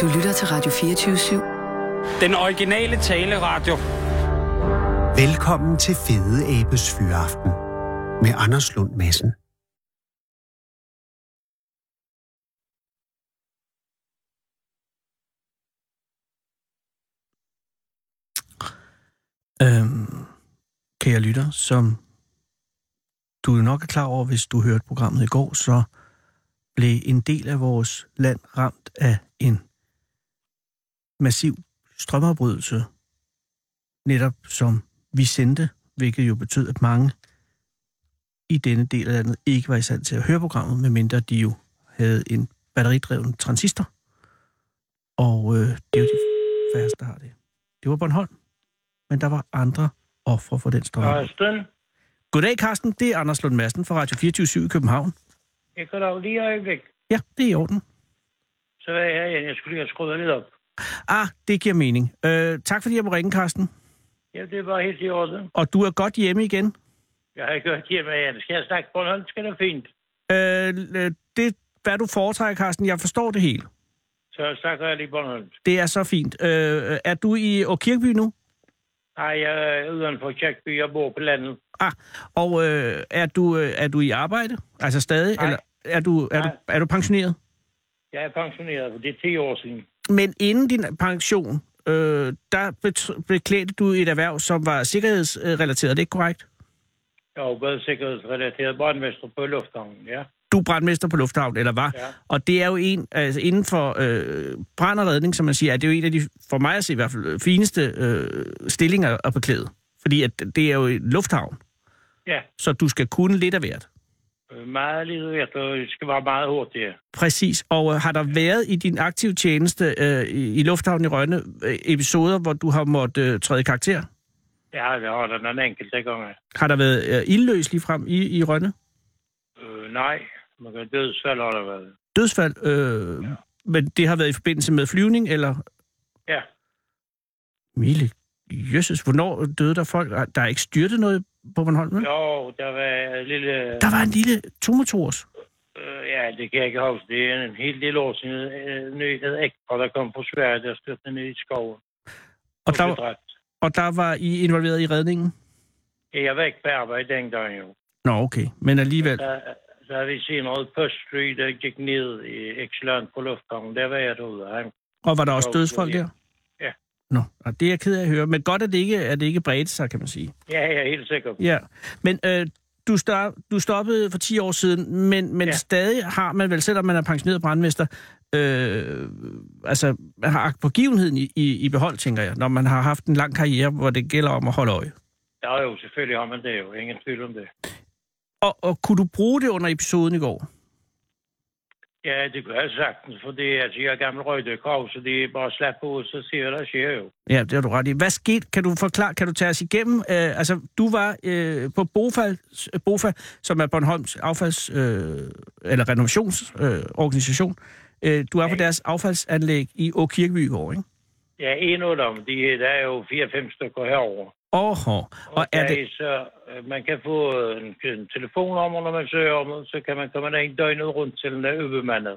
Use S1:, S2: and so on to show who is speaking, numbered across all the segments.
S1: Du lytter til Radio 24 /7.
S2: Den originale taleradio.
S3: Velkommen til Fede Abes Fyraften med Anders Lund Madsen.
S4: Øhm, kære lytter, som du jo nok er klar over, hvis du hørte programmet i går, så blev en del af vores land ramt af en massiv strømafbrydelse, netop som vi sendte, hvilket jo betød, at mange i denne del af landet ikke var i stand til at høre programmet, medmindre de jo havde en batteridreven transistor. Og øh, det er jo de færreste, der har det. Det var Bornholm men der var andre ofre for den strøm.
S5: Karsten,
S4: Goddag, Carsten. Det er Anders Lund Madsen fra Radio 24 i København.
S5: jeg kan lave lige et øjeblik.
S4: Ja, det er i orden.
S5: Så er jeg herinde. Jeg skulle lige have skruet lidt op.
S4: Ah, det giver mening. Øh, tak fordi jeg må ringe, Carsten.
S5: Ja, det var helt i orden.
S4: Og du er godt hjemme igen.
S5: Jeg har gjort hjemme af jer. Skal jeg snakke Bornholm, skal det fint.
S4: Øh, øh, det, hvad du foretrækker, Carsten, jeg forstår det hele.
S5: Så snakker jeg lige Bornholm.
S4: Det er så fint. Øh, er du i Kirkeby nu?
S5: Nej, jeg er uden for Kirkby. Jeg bor på landet.
S4: Ah, og øh, er, du, øh, er du i arbejde? Altså stadig?
S5: Nej.
S4: Eller er du, er, du,
S5: Nej.
S4: er du pensioneret?
S5: Jeg er pensioneret, for det er 10 år siden.
S4: Men inden din pension, øh, der bet- beklædte du et erhverv, som var sikkerhedsrelateret. Er det ikke korrekt?
S5: Jeg har jo været sikkerhedsrelateret brandmester på lufthavnen, ja.
S4: Du er brandmester på Lufthavn, eller var?
S5: Ja.
S4: Og det er jo en, altså inden for øh, brand og redning, som man siger, er det jo en af de, for mig at se i hvert fald, fineste øh, stillinger at beklæde. Fordi at det er jo i Lufthavn,
S5: Ja,
S4: så du skal kunne lidt af hvert.
S5: øh, meget lidt ved, og det skal være meget hurtigt.
S4: Præcis. Og øh, har der været i din aktive tjeneste øh, i, i Lufthavn i Rønne øh, episoder, hvor du har måttet øh, træde i karakter?
S5: Ja, det har der nogle enkelte gange.
S4: Har der været øh, ildløs lige frem i, i Rønne?
S5: Øh, nej, man kan dødsfald har der været.
S4: dødsfald, øh, ja. men det har været i forbindelse med flyvning, eller...
S5: Ja,
S4: Mille, jøsses, hvornår døde der folk? Der er ikke styrtet noget på Bornholm, vel?
S5: jo, der var en lille...
S4: Der var en lille tomotors.
S5: Øh, ja, det kan jeg ikke huske. Det er en hel del år siden, øh, nyheden ægte, der kom fra Sverige, der styrte ned i skoven.
S4: Og der,
S5: blev
S4: var-
S5: dræbt.
S4: og der var I involveret i redningen?
S5: Ja, Jeg var ikke på arbejde dengang jo.
S4: Nå, okay. Men alligevel.
S5: Der, der er vi senere på Street, der gik ned i Eksland på lufthavnen. Der var jeg derude. Han,
S4: Og var der også
S5: Jo,
S4: dødsfolk
S5: ja.
S4: der?
S5: Ja.
S4: Nå, og det er jeg ked af at høre. Men godt, at det ikke, at det ikke bredte sig, kan man sige.
S5: ja, jeg er helt sikker på.
S4: Ja. Men øh, du, stop, du stoppede for 10 år siden, men, men ja.
S5: Ja.
S4: stadig har man vel, selvom man er pensioneret brandmester, øh, altså man har agt begivenheden i, i, i behold, tænker jeg, når man har haft en lang karriere, hvor det gælder om at holde øje.
S5: Der er jo selvfølgelig om, men det er jo ingen tvivl om det.
S4: Og, og kunne du bruge det under episoden i går?
S5: Ja, det kan jeg sagtens, for det altså, jeg er gammel røgdykkrav, så det er bare slap på, så siger jeg, der sker jo.
S4: Ja, det har du ret i. Hvad skete? Kan du forklare, kan du tage os igennem? Øh, altså, du var øh, på Bofa, Bofa, som er Bornholms affalds- øh, eller renovationsorganisation. Øh, organisation. øh, du er på
S5: Ja.
S4: deres affaldsanlæg i Åkirkeby i går, ikke?
S5: Ja, en af dem, de, der er jo 4-5 stykker herovre.
S4: Åh, og er det...
S5: Okay, så øh, man kan få en, en telefonnummer, når man søger om det, så kan man komme derind døgnet rundt til den er øbemandet.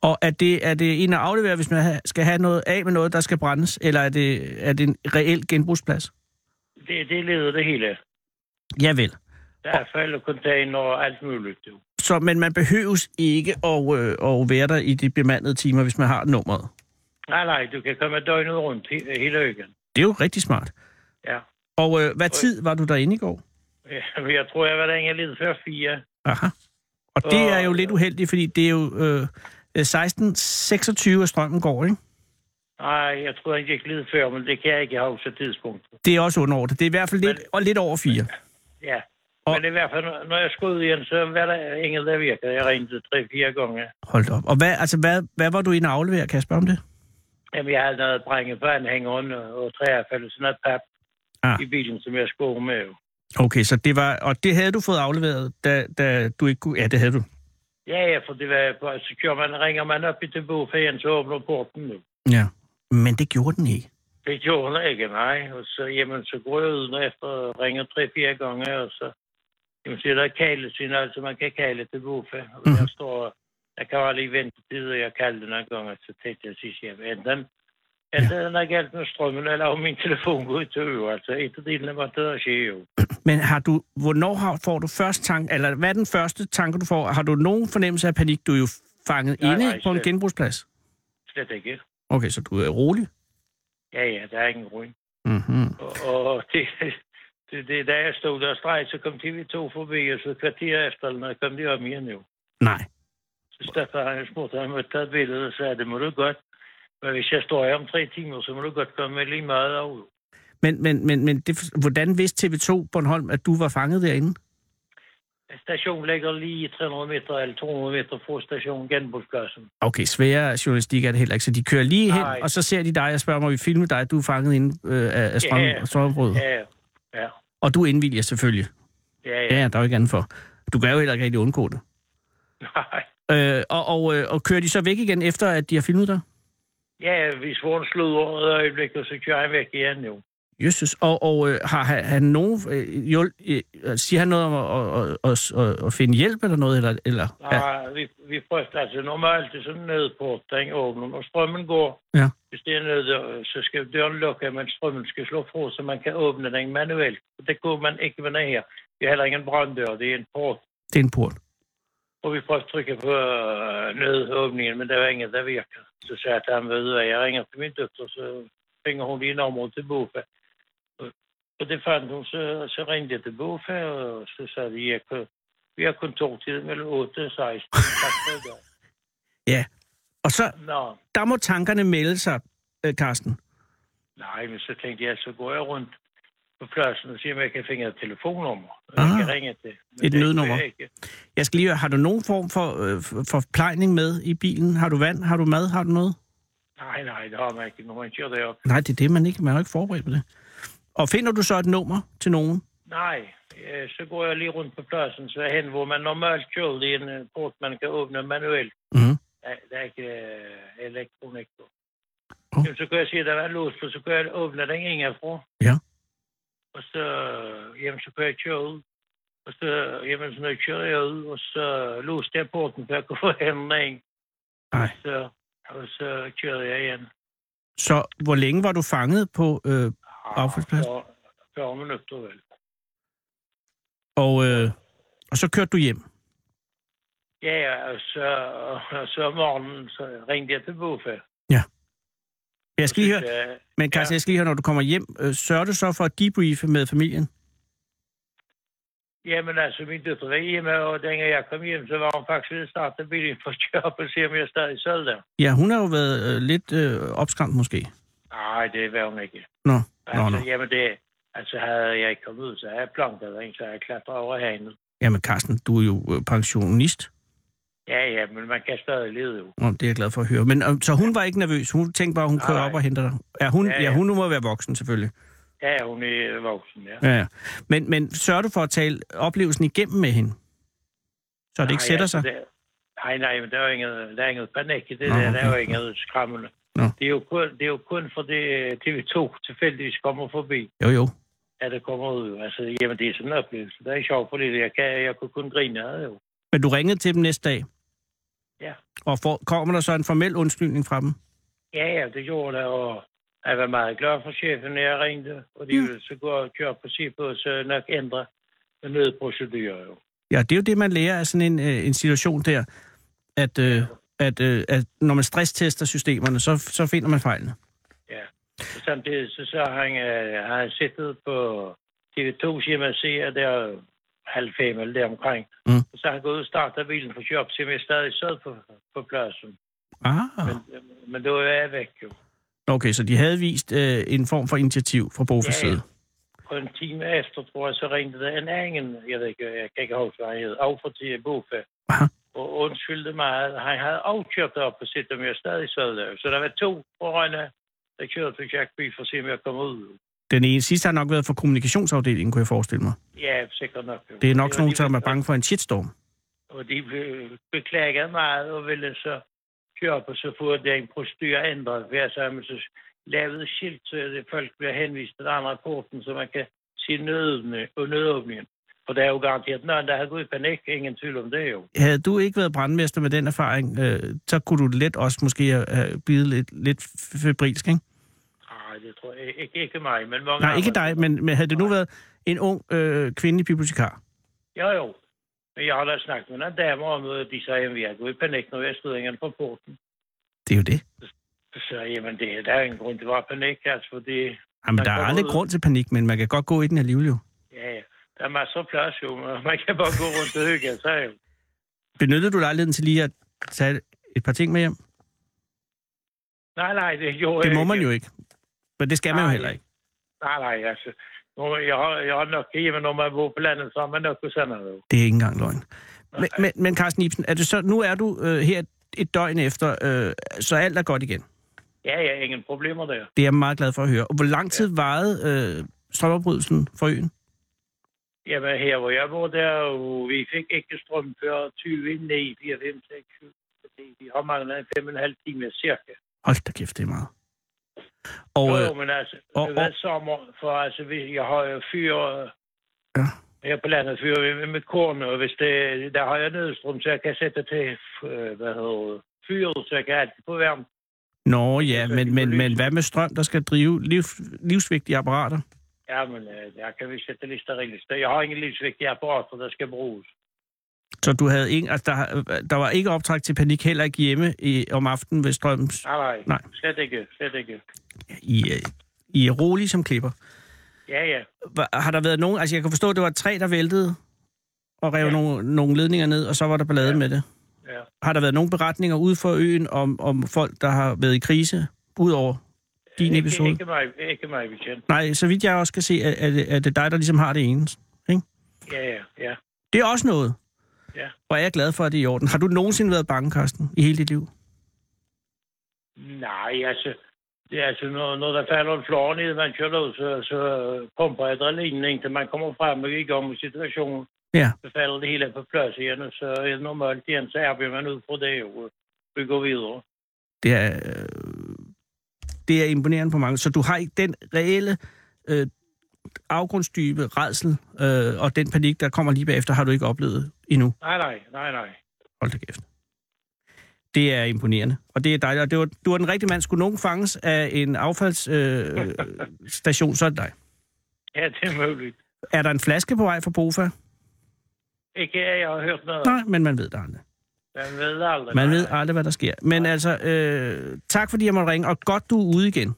S4: Og er det, er det en at aflevere, hvis man ha- skal have noget af med noget, der skal brændes? Eller er det, er det en reel genbrugsplads?
S5: Det, det leder det hele.
S4: Ja vel.
S5: Der er fældecontainer og alt muligt. Jo.
S4: Så, men man behøves ikke at, øh, at være der i de bemandede timer, hvis man har nummeret.
S5: Nej, nej, du kan komme døgnet rundt he- øh, hele øen.
S4: Det er jo rigtig smart.
S5: Ja.
S4: Og øh, hvad tid var du derinde i går?
S5: Ja, men Jeg tror, jeg var derinde lidt før fire.
S4: Aha. Og det er jo lidt uheldigt, fordi det er jo øh, 16.26, at strømmen går, ikke?
S5: Nej, jeg tror, jeg gik lidt før, men det kan jeg ikke huske tidspunktet.
S4: Det er også under det. Det er i hvert fald lidt, og lidt over fire.
S5: Ja.
S4: Og-
S5: Men i hvert fald, når- når jeg skulle ud igen, så var der ingen, der virkede. Jeg ringte tre-fire gange.
S4: Hold da op. Og hvad, altså, hvad, hvad var du inde og aflevere, kan jeg spørge om det?
S5: Jamen, jeg havde noget brænge på anhængeren og træerfælde, sådan noget pap
S4: Ah.
S5: ah. i bilen, som jeg skulle med. Jo.
S4: Okay, så det var, og det havde du fået afleveret, da, da du ikke kunne... Ja, det havde du.
S5: Ja, ja, for det var, på- så kører man, ringer man op i til bogfæren, så åbner porten nu.
S4: Ja. Men det gjorde den ikke.
S5: Det gjorde hun ikke, nej. Og så, jamen, så går jeg ud når efter og ringer tre-fire gange, og så jamen, siger der kalde sin, altså man kan kalde til bogfæren. Og
S4: Mhm.
S5: der står Jeg kan holde i ventetider. Jeg kaldte nogle gange, så tænkte jeg sidst hjem. Enten, enten ja. den er galt med strømmen, eller om min telefon går ud til øve. Altså, et af delene var det, der sker jo.
S4: Men har du, hvornår har, får du først tanke, eller hvad er den første tanke, du får? Har du nogen fornemmelse af panik? Du er jo fanget
S5: Nej,
S4: nej, inde
S5: nej,
S4: nej, på en
S5: slet.
S4: genbrugsplads.
S5: Slet ikke.
S4: Okay, så du er rolig?
S5: Ja, ja, der er ingen grund.
S4: Mm-hmm.
S5: Og, og det, det, det, da jeg stod der og streg, så kom TV2 forbi, og så et kvarter efter, når jeg kom de om igen jo.
S4: Nej.
S5: Så Staffan han spurgte, han måtte tage et billede og sagde, det må du godt. Men hvis jeg står her om tre timer, så må du godt komme med lige meget af. jo."
S4: Men, men, men, men det, hvordan vidste TV2 Bornholm, at du var fanget derinde?
S5: Stationen ligger lige 300 meter eller 200 meter fra stationen genbrugspladsen.
S4: Okay, sværere journalistik er det heller ikke. Så de kører lige hen,
S5: Nej.
S4: og så ser de dig og spørger, om vi filme dig. Du er fanget inde øh, af, af strøm,
S5: Ja.
S4: strømbruddet.
S5: Ja, ja, ja,
S4: Og du indvilger selvfølgelig.
S5: ja.
S4: Ja,
S5: ja.
S4: der er jo ikke andet for. Du kan jo heller ikke rigtig undgå det.
S5: Nej.
S4: Øh, og, og, øh, og kører de så væk igen, efter at de har filmet dig?
S5: Ja, ja, vi svor en slud over et øjeblik, og så kører han væk igen jo.
S4: Jesus. Og, og øh, har han han nogen... Øh, hjul- øh, siger han noget om at, at, at, at, at finde hjælp eller noget? Eller, eller? Ja.
S5: Ja. Ah, Vi, vi prøver altså normalt det er sådan nødporten åbner, når strømmen går.
S4: Ja.
S5: Hvis det er nød, så skal døren lukke, men strømmen skal slå fra, så man kan åbne den manuelt. Det kunne man ikke med den her. Det er heller ikke en branddør, det er en port.
S4: Det er en port.
S5: Og vi prøver at trykke på øh, nødåbningen, men der var ingen, der virker. Så sagde jeg til ham, ved du hvad, jeg ringer til min døtter, så ringer hun lige nummer til Bofa. Og- Og det fandt hun, så, så ringte jeg til Bofa, og så sagde de, jeg kan, vi har kontortid mellem 8 og 16. Tak for i dag.
S4: Og så,
S5: Nå,
S4: der må tankerne melde sig, øh, Karsten.
S5: nej, men så tænkte jeg, så går jeg rundt på pladsen og siger, om jeg kan finde et telefonnummer, og
S4: Ah,
S5: jeg kan ringe til. Men
S4: et
S5: det kunne
S4: nødnummer.
S5: jeg ikke.
S4: Jeg skal lige høre, har du nogen form for, øh, for- for plejning med i bilen? Har du vand? Har du mad? Har du noget?
S5: Nej, nej, det har man ikke. Når man kører derop.
S4: Nej, det er det, man ikke. Man er jo ikke forberedt på det. Og finder du så et nummer til nogen?
S5: Nej, øh, så går jeg lige rundt på pladsen, så hen, hvor man normalt kører i en øh, port, man kan åbne manuelt.
S4: Mhm.
S5: Der, der er ikke øh, elektronik på.
S4: Åh.
S5: Jamen, så kan jeg sige, der var låst på, så kan jeg åbne den ene fra.
S4: Ja.
S5: Og så, jamen, så kan jeg køre ud. Og så, jamen, så når jeg kører jeg ud, og så låste jeg porten, så jeg kunne få hænderne ind.
S4: Nej.
S5: Og så, og så kører jeg igen.
S4: Så hvor længe var du fanget på... Øh, Affaldspladsen?
S5: Ah, 40 minutter, vel.
S4: og, øh, og så kørte du hjem?
S5: Ja, ja, og så, og så om morgenen så ringte jeg til Buffe.
S4: Jeg skal lige høre,
S5: Øh,
S4: men Carsten,
S5: ja.
S4: jeg skal lige høre, når du kommer hjem, øh, sørger du så for at debriefe med familien?
S5: Jamen altså, min døtre var hjemme, og dengang jeg kom hjem, så var hun faktisk ved at starte bilen for at køre op og se, om jeg stadig sad der.
S4: Ja, hun har jo været øh, lidt øh, opskræmt måske.
S5: Nej, det var hun ikke.
S4: Nå, nå,
S5: Altså,
S4: nå.
S5: no, no. jamen det, altså havde jeg ikke kommet ud, så havde jeg planket den, så havde jeg klatret over hanen.
S4: Jamen Carsten, du er jo øh, pensionist.
S5: Ja, ja, men man kan stadig leve jo.
S4: Nå, det er jeg glad for at høre. Men, øh, så hun var ikke nervøs. Hun tænkte bare, hun kører
S5: Nej.
S4: op og henter dig. Ja, hun,
S5: Ja,
S4: ja,
S5: ja.
S4: hun nu må være voksen selvfølgelig.
S5: Ja, hun er voksen, ja.
S4: Ja, ja. Men, men sørger du for at tale oplevelsen igennem med hende? Så det ikke
S5: Nej,
S4: sætter
S5: altså,
S4: sig?
S5: Det, nej, nej, men der er jo ingen, der er ingen panik i det
S4: Nå,
S5: der. Der er jo
S4: okay.
S5: ingen skræmmende.
S4: Nå.
S5: Det, er jo kun, det er jo kun fordi øh, TV2 tilfældigvis kommer forbi,
S4: Jo, jo.
S5: at det kommer ud. Altså, jamen, det er sådan en oplevelse. Det er ikke sjovt, fordi jeg, kan, jeg kunne kun grine af det jo.
S4: Men du ringede til dem næste dag?
S5: Ja.
S4: Og får, kommer der så en formel undskyldning fra dem?
S5: Ja, ja, det gjorde det, og jeg var meget glad for chefen, når jeg ringte. Og de
S4: Ja.
S5: ville så gå og køre på sig på, så nok ændre nødprocedurer jo.
S4: Ja, det er jo det, man lærer af sådan en, øh, en situation der, at, øh, at, øh, at når man stresstester systemerne, så, så finder man fejlene.
S5: Og samtidig så, så har han, øh, har han siddet på TV2's hjemmeside, og der er halv fem eller deromkring.
S4: Mm.
S5: Og så har han gået ud og startet bilen for job, så jeg stadig sad på, på pladsen.
S4: Ah,
S5: Men det var jeg væk jo.
S4: okay, så de havde vist øh, en form for initiativ fra Bofors
S5: Ja, ja.
S4: side.
S5: Og en time efter, tror jeg, så ringte der en anden, jeg ved ikke, jeg kan ikke huske, hvad han hed, Aufer til Bofa.
S4: Aha.
S5: Og undskyldte mig, at han havde afkørt op og set, om jeg stadig sad der. Så der var to fra Rønne, der kørte til Jackby for at se, om jeg kom ud.
S4: Den ene sidste har nok været fra kommunikationsafdelingen, kunne jeg forestille mig.
S5: Ja, sikkert nok. jo.
S4: Det er nok
S5: var
S4: sådan nogen,
S5: lige
S4: som er
S5: ved-
S4: bange for en shitstorm.
S5: Og de blev beklaget meget og ville så køre på, så få den procedur ændret. Hver sammen så lavede skilt, så det folk bliver henvist til den andre porten, så man kan se nødåbne- og nødåbningen. For der er jo garanteret nogen, der har gået i panik. Ingen tvivl om det jo.
S4: Havde du ikke været brandmester med den erfaring, øh, så kunne du let også måske have blive lidt, lidt febrilsk, ikke?
S5: Nej, det tror jeg ikke, ikke mig, men mange
S4: Nej, ikke
S5: andre.
S4: dig, men, men havde det nu været en ung øh, kvindelig bibliotekar?
S5: Jo, jo. Men jeg har da snakket med nogle damer om, at de sagde, at vi har gået i panik, når jeg stod ingen på porten.
S4: Det er jo det.
S5: Så sagde jeg, jamen det, er- der er ingen grund til at være panik, altså, fordi
S4: Jamen,
S5: Man
S4: der er
S5: kommer
S4: aldrig
S5: ud.
S4: grund til panik, men man kan godt gå i den alligevel jo.
S5: ja, ja, der er masser af plads jo, men man kan bare gå rundt og hygge sig. jo.
S4: Benyttede du lejligheden til lige at tage et par ting med hjem?
S5: Nej, nej, det gjorde
S4: Det
S5: jeg
S4: må
S5: ikke.
S4: man jo ikke. Men det skal man jo
S5: Nej.
S4: heller ikke.
S5: Nej, nej, altså. Nu, jeg, har, jeg har nok hjemme, når man bor på landet, så har man nok på sandet. jo.
S4: Det er ikke engang løgn. Men, men, men Carsten Ibsen, er det så, nu er du øh, her et døgn efter, øh, så alt er godt igen.
S5: Ja, ja, ingen problemer der.
S4: Det er jeg meget glad for at høre. Og hvor lang tid varede øh, strømoprydelsen for øen?
S5: Jamen her, hvor jeg bor, der, og vi fik ikke strøm før 20, 9, 4, 5, 6, 7. fordi Vi har manglet 5,5 timer cirka.
S4: Hold da kæft, det er meget. Og,
S5: Jo,
S4: øh,
S5: jo, men altså,
S4: og-
S5: og, hvad sommer, for altså, hvis jeg har jo fyre,
S4: Ja.
S5: ja. her på landet fyre med, med mit korn, og hvis det, der har jeg nødstrøm, så jeg kan sætte til, øh, hvad hedder det, fyret, så jeg kan altid få varme.
S4: nå ja,
S5: så
S4: men,
S5: de
S4: men,
S5: får
S4: men
S5: lys.
S4: hvad med strøm, der skal drive liv, livsvigtige apparater?
S5: Ja, men øh, der kan vi sætte lidt sterilister. Jeg har ingen livsvigtige apparater, der skal bruges.
S4: Så du havde ikke, altså der, der var ikke optræk til panik heller ikke hjemme i, om aftenen ved strømmen.
S5: Nej, nej,
S4: Nej.
S5: nej. slet ikke, slet ikke.
S4: I, er- I er rolig som klipper.
S5: Ja, ja.
S4: Hva- Har der været nogen, altså jeg kan forstå, at det var et træ, der væltede og rev ja.
S5: Ja.
S4: nogle, nogle ledninger ned, og så var der ballade ja. med det.
S5: ja.
S4: Har der været nogle beretninger ude for øen om, om folk, der har været i krise, udover din
S5: Ikke,
S4: episode?
S5: ikke, mig, ikke mig bekendt.
S4: Nej, så vidt jeg også kan se, er, er, det, er det dig, der ligesom har det ene.
S5: Ja, ja, ja.
S4: Det er også noget.
S5: Ja.
S4: Og jeg er glad for, at det er i orden. Har du nogensinde været bange, Karsten, i hele dit liv?
S5: Nej, altså, det er altså, når, når der falder en flår ned, man kører ud, så, så pumper adrenalinen, indtil man kommer frem og i gang med situationen.
S4: Ja.
S5: Så falder det hele på plads igen, og så er det normalt igen, så arbejder man ud fra det, og vi går videre.
S4: Det er, øh, det er imponerende på mange. Så du har ikke den reelle øh, afgrundsdybe redsel øh, og den panik, der kommer lige bagefter, har du ikke oplevet endnu.
S5: Nej, nej, nej, nej.
S4: Hold da kæft. Det er imponerende, og det er dejligt. Og det var, du var den rigtige mand. Skulle nogen fanges af en affaldsstation, øh, station, så er det dig.
S5: Ja, det er muligt.
S4: Er der en flaske på vej fra Bofa?
S5: Ikke at jeg har hørt noget.
S4: Nej, men man ved det aldrig.
S5: Man ved aldrig.
S4: Man
S5: nej,
S4: ved
S5: nej.
S4: aldrig, hvad der sker. Men altså, øh, tak fordi jeg måtte ringe, og godt du er ude igen.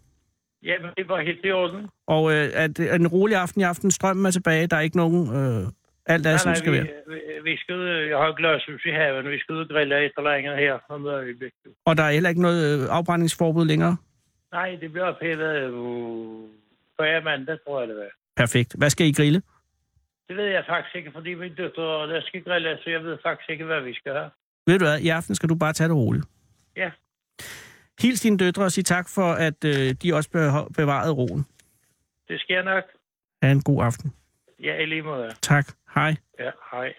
S5: Jamen, det var helt i orden.
S4: Og øh, at øh, en rolig aften i aften, strømmen er tilbage, der er ikke nogen... Øh, alt er, som det skal
S5: vi,
S4: være.
S5: vi, vi skal ud, jeg har et glashus i haven, vi skal ud og grille et eller andet her om et øjeblik.
S4: Og der er heller ikke noget øh, afbrændingsforbud længere.
S5: Nej, det bliver ophævet uh, på mandag, tror jeg det var.
S4: Perfekt. Hvad skal I grille?
S5: Det ved jeg faktisk ikke, fordi min døtter, der skal grille, så jeg ved faktisk ikke, hvad vi skal have.
S4: Ved du hvad, i aften skal du bare tage det roligt.
S5: Ja.
S4: Hils dine døtre og sig tak for, at øh, de også beho- bevarede roen.
S5: Det sker nok.
S4: Ha' en god aften.
S5: Ja, i lige måde.
S4: Tak. Hej.
S5: Ja, hej.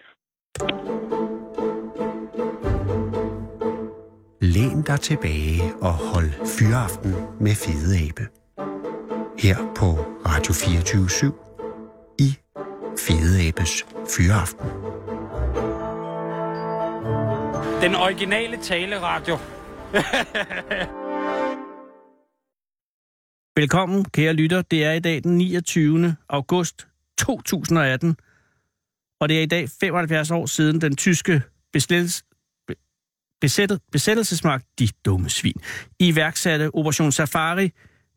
S3: Læn dig tilbage og hold fyraften med Fede Abe. Her på Radio 24 i Fede Abes Fyraften.
S2: Den originale taleradio.
S4: Velkommen, kære lytter. Det er i dag den 29. august 2018, og det er i dag 75 år siden den tyske beslettelse, besættet, besættelsesmagt, de dumme svin, iværksatte Operation Safari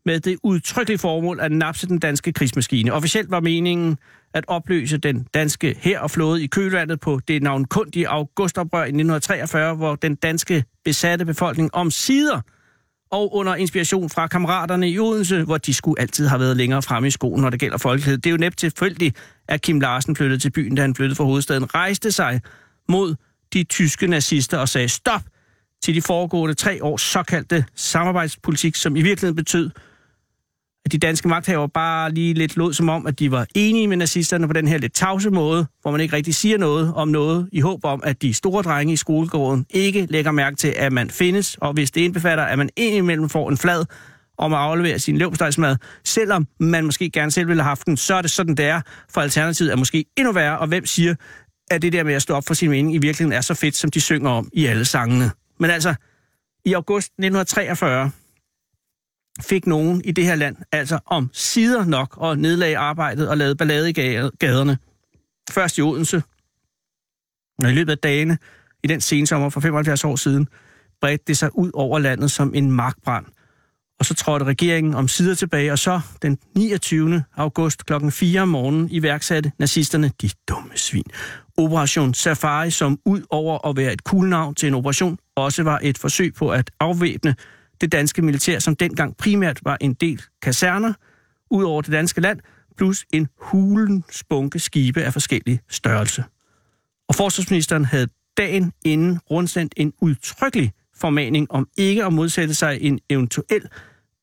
S4: med det udtrykkelige formål at napse den danske krigsmaskine. Officielt var meningen at opløse den danske hær og flåde i kølvandet på det navnkundige augustoprør i 1943, hvor den danske besatte befolkning om sider og under inspiration fra kammeraterne i Odense, hvor de skulle altid have været længere fremme i skoen, når det gælder folkehed. Det er jo næppe tilfældigt, at Kim Larsen flyttede til byen, da han flyttede fra hovedstaden, rejste sig mod de tyske nazister og sagde stop til de foregående tre års såkaldte samarbejdspolitik, som i virkeligheden betød, at de danske magthavere bare lige lidt lod som om, at de var enige med nazisterne på den her lidt tavse måde, hvor man ikke rigtig siger noget om noget, i håb om, at de store drenge i skolegården ikke lægger mærke til, at man findes, og hvis det indbefatter, at man indimellem får en flad om at aflevere sin løbstejsmad, selvom man måske gerne selv ville have haft den, så er det sådan, det er, for alternativet er måske endnu værre, og hvem siger, at det der med at stå op for sin mening i virkeligheden er så fedt, som de synger om i alle sangene. Men altså, i august 1943 fik nogen i det her land altså om sider nok og nedlagde arbejdet og lavede ballade i ga- gaderne. Først i Odense, og i løbet af dagene i den sensommer for 75 år siden, bredte det sig ud over landet som en markbrand. Og så trådte regeringen om sider tilbage, og så den 29. august kl. 4 om morgenen iværksatte nazisterne, de dumme svin, Operation Safari, som ud over at være et kuglenavn til en operation, også var et forsøg på at afvæbne det danske militær, som dengang primært var en del kaserner ud over det danske land, plus en hulen spunke skibe af forskellig størrelse. Og forsvarsministeren havde dagen inden rundsendt en udtrykkelig formaning om ikke at modsætte sig en eventuel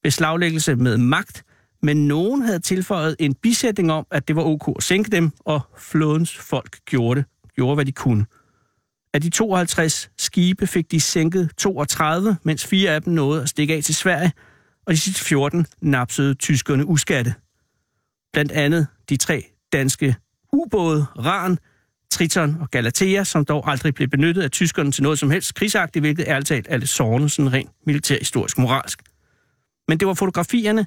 S4: beslaglæggelse med magt, men nogen havde tilføjet en bisætning om, at det var ok at sænke dem, og flådens folk gjorde det, gjorde hvad de kunne. Af de 52 skibe fik de sænket 32, mens fire af dem nåede at stikke af til Sverige, og de sidste 14 napsede tyskerne uskatte. Blandt andet de tre danske ubåde, Ran, Triton og Galatea, som dog aldrig blev benyttet af tyskerne til noget som helst krigsagtigt, hvilket ærligt talt er lidt sårende, sådan rent militærhistorisk moralsk. Men det var fotografierne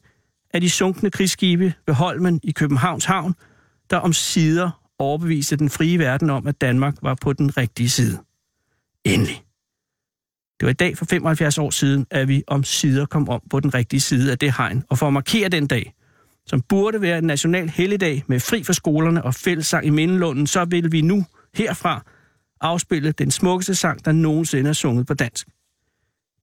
S4: af de sunkne krigsskibe ved Holmen i Københavns Havn, der om sider overbeviste den frie verden om, at Danmark var på den rigtige side. Endelig. Det var i dag for 75 år siden, at vi om sider kom om på den rigtige side af det hegn, og for at markere den dag – som burde være en national helligdag med fri for skolerne og fællessang i Mindelunden, så vil vi nu herfra afspille den smukkeste sang, der nogensinde er sunget på dansk.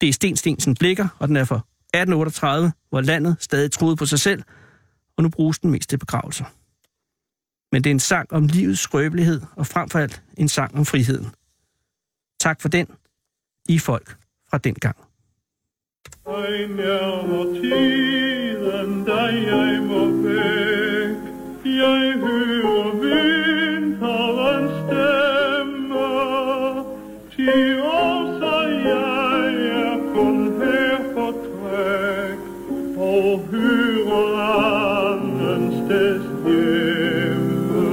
S4: Det er Sten Stensen Blikker, og den er fra 1838, hvor landet stadig troede på sig selv, og nu bruges den mest til begravelser. Men det er en sang om livets skrøbelighed, og frem for alt en sang om friheden. Tak for den, I folk fra dengang.
S1: Ein nærmer tiden, da jeg må væk. Jeg hører vinterens stemme. Ti år, så jeg er kun her på træk, og hører andens steds hjemme.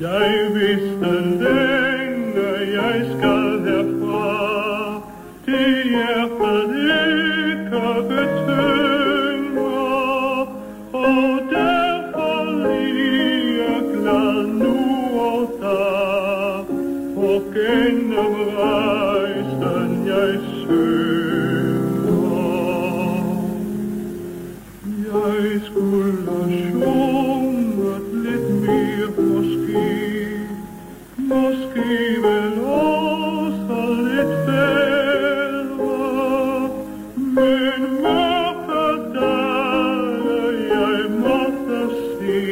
S1: Jeg vidste længe, jeg skal herfra. Det hjertet ikke betynger, og derfor lige glad nu og da. Og gennem rejsen jeg søger. Jeg skulle sjunget lidt mere måske. Måske vel også lidt bedre. Men mørke dage jeg måtte se.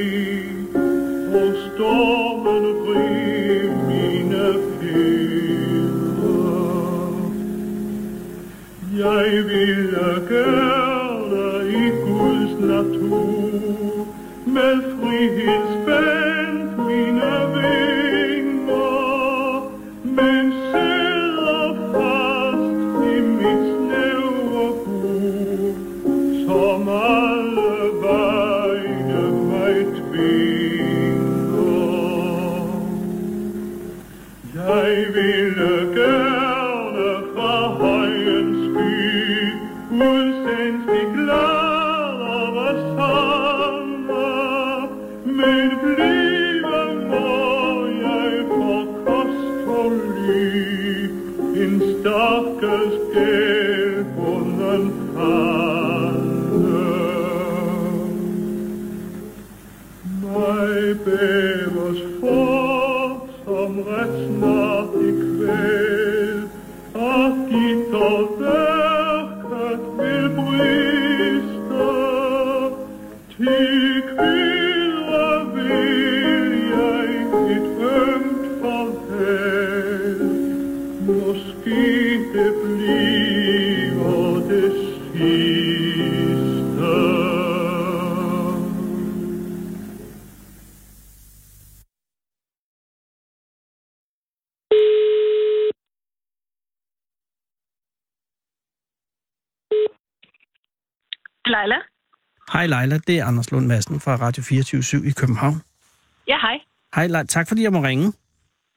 S1: Og stormen riv mine fjeder. Jeg ville gøre i Guds natur med frihedsband mine vinger, men sidder fast i mit snævre bur, som alle vegne mig tvinger. Jeg ville gerne fra højens sky udsendt de gladere sanger, men blive må jeg for kost og ly en stakkels gælbunden fanden. Mig bæres for, som ret snart i kvæl, at dit og værket vil briste. Til kvider vil jeg dit ømt farvel, måske det bliver det sidste.
S6: Leila?
S4: Hej Leila, det er Anders Lund Madsen fra Radio 24 i København.
S6: Ja, hej.
S4: Hej Leila, tak fordi jeg må ringe.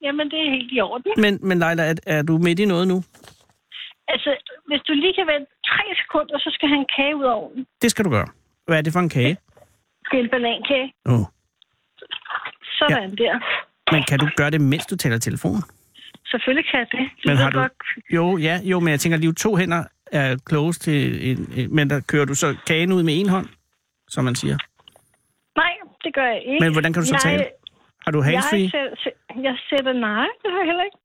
S6: Jamen, det er helt i orden.
S4: Men, men Leila, er, er du midt i noget nu?
S6: Altså, hvis du lige kan vente tre sekunder, så skal han en kage ud af ovnen.
S4: Det skal du gøre. Hvad er det for en kage?
S6: Det er en banankage.
S4: Oh.
S6: Sådan der.
S4: Men kan du gøre det, mens du taler i telefonen?
S6: Selvfølgelig kan jeg det. Du
S4: Men
S6: ved
S4: har du...
S6: godt-
S4: Jo, ja, jo, men jeg tænker lige, to hænder er klogest til en, en, Men der kører du så kagen ud med en hånd, som man siger.
S6: Nej, det gør jeg ikke.
S4: Men hvordan kan du så
S6: jeg,
S4: tale? Har du handsfree?
S6: Jeg, sæt- sæt- jeg sætter nej, det har jeg heller ikke.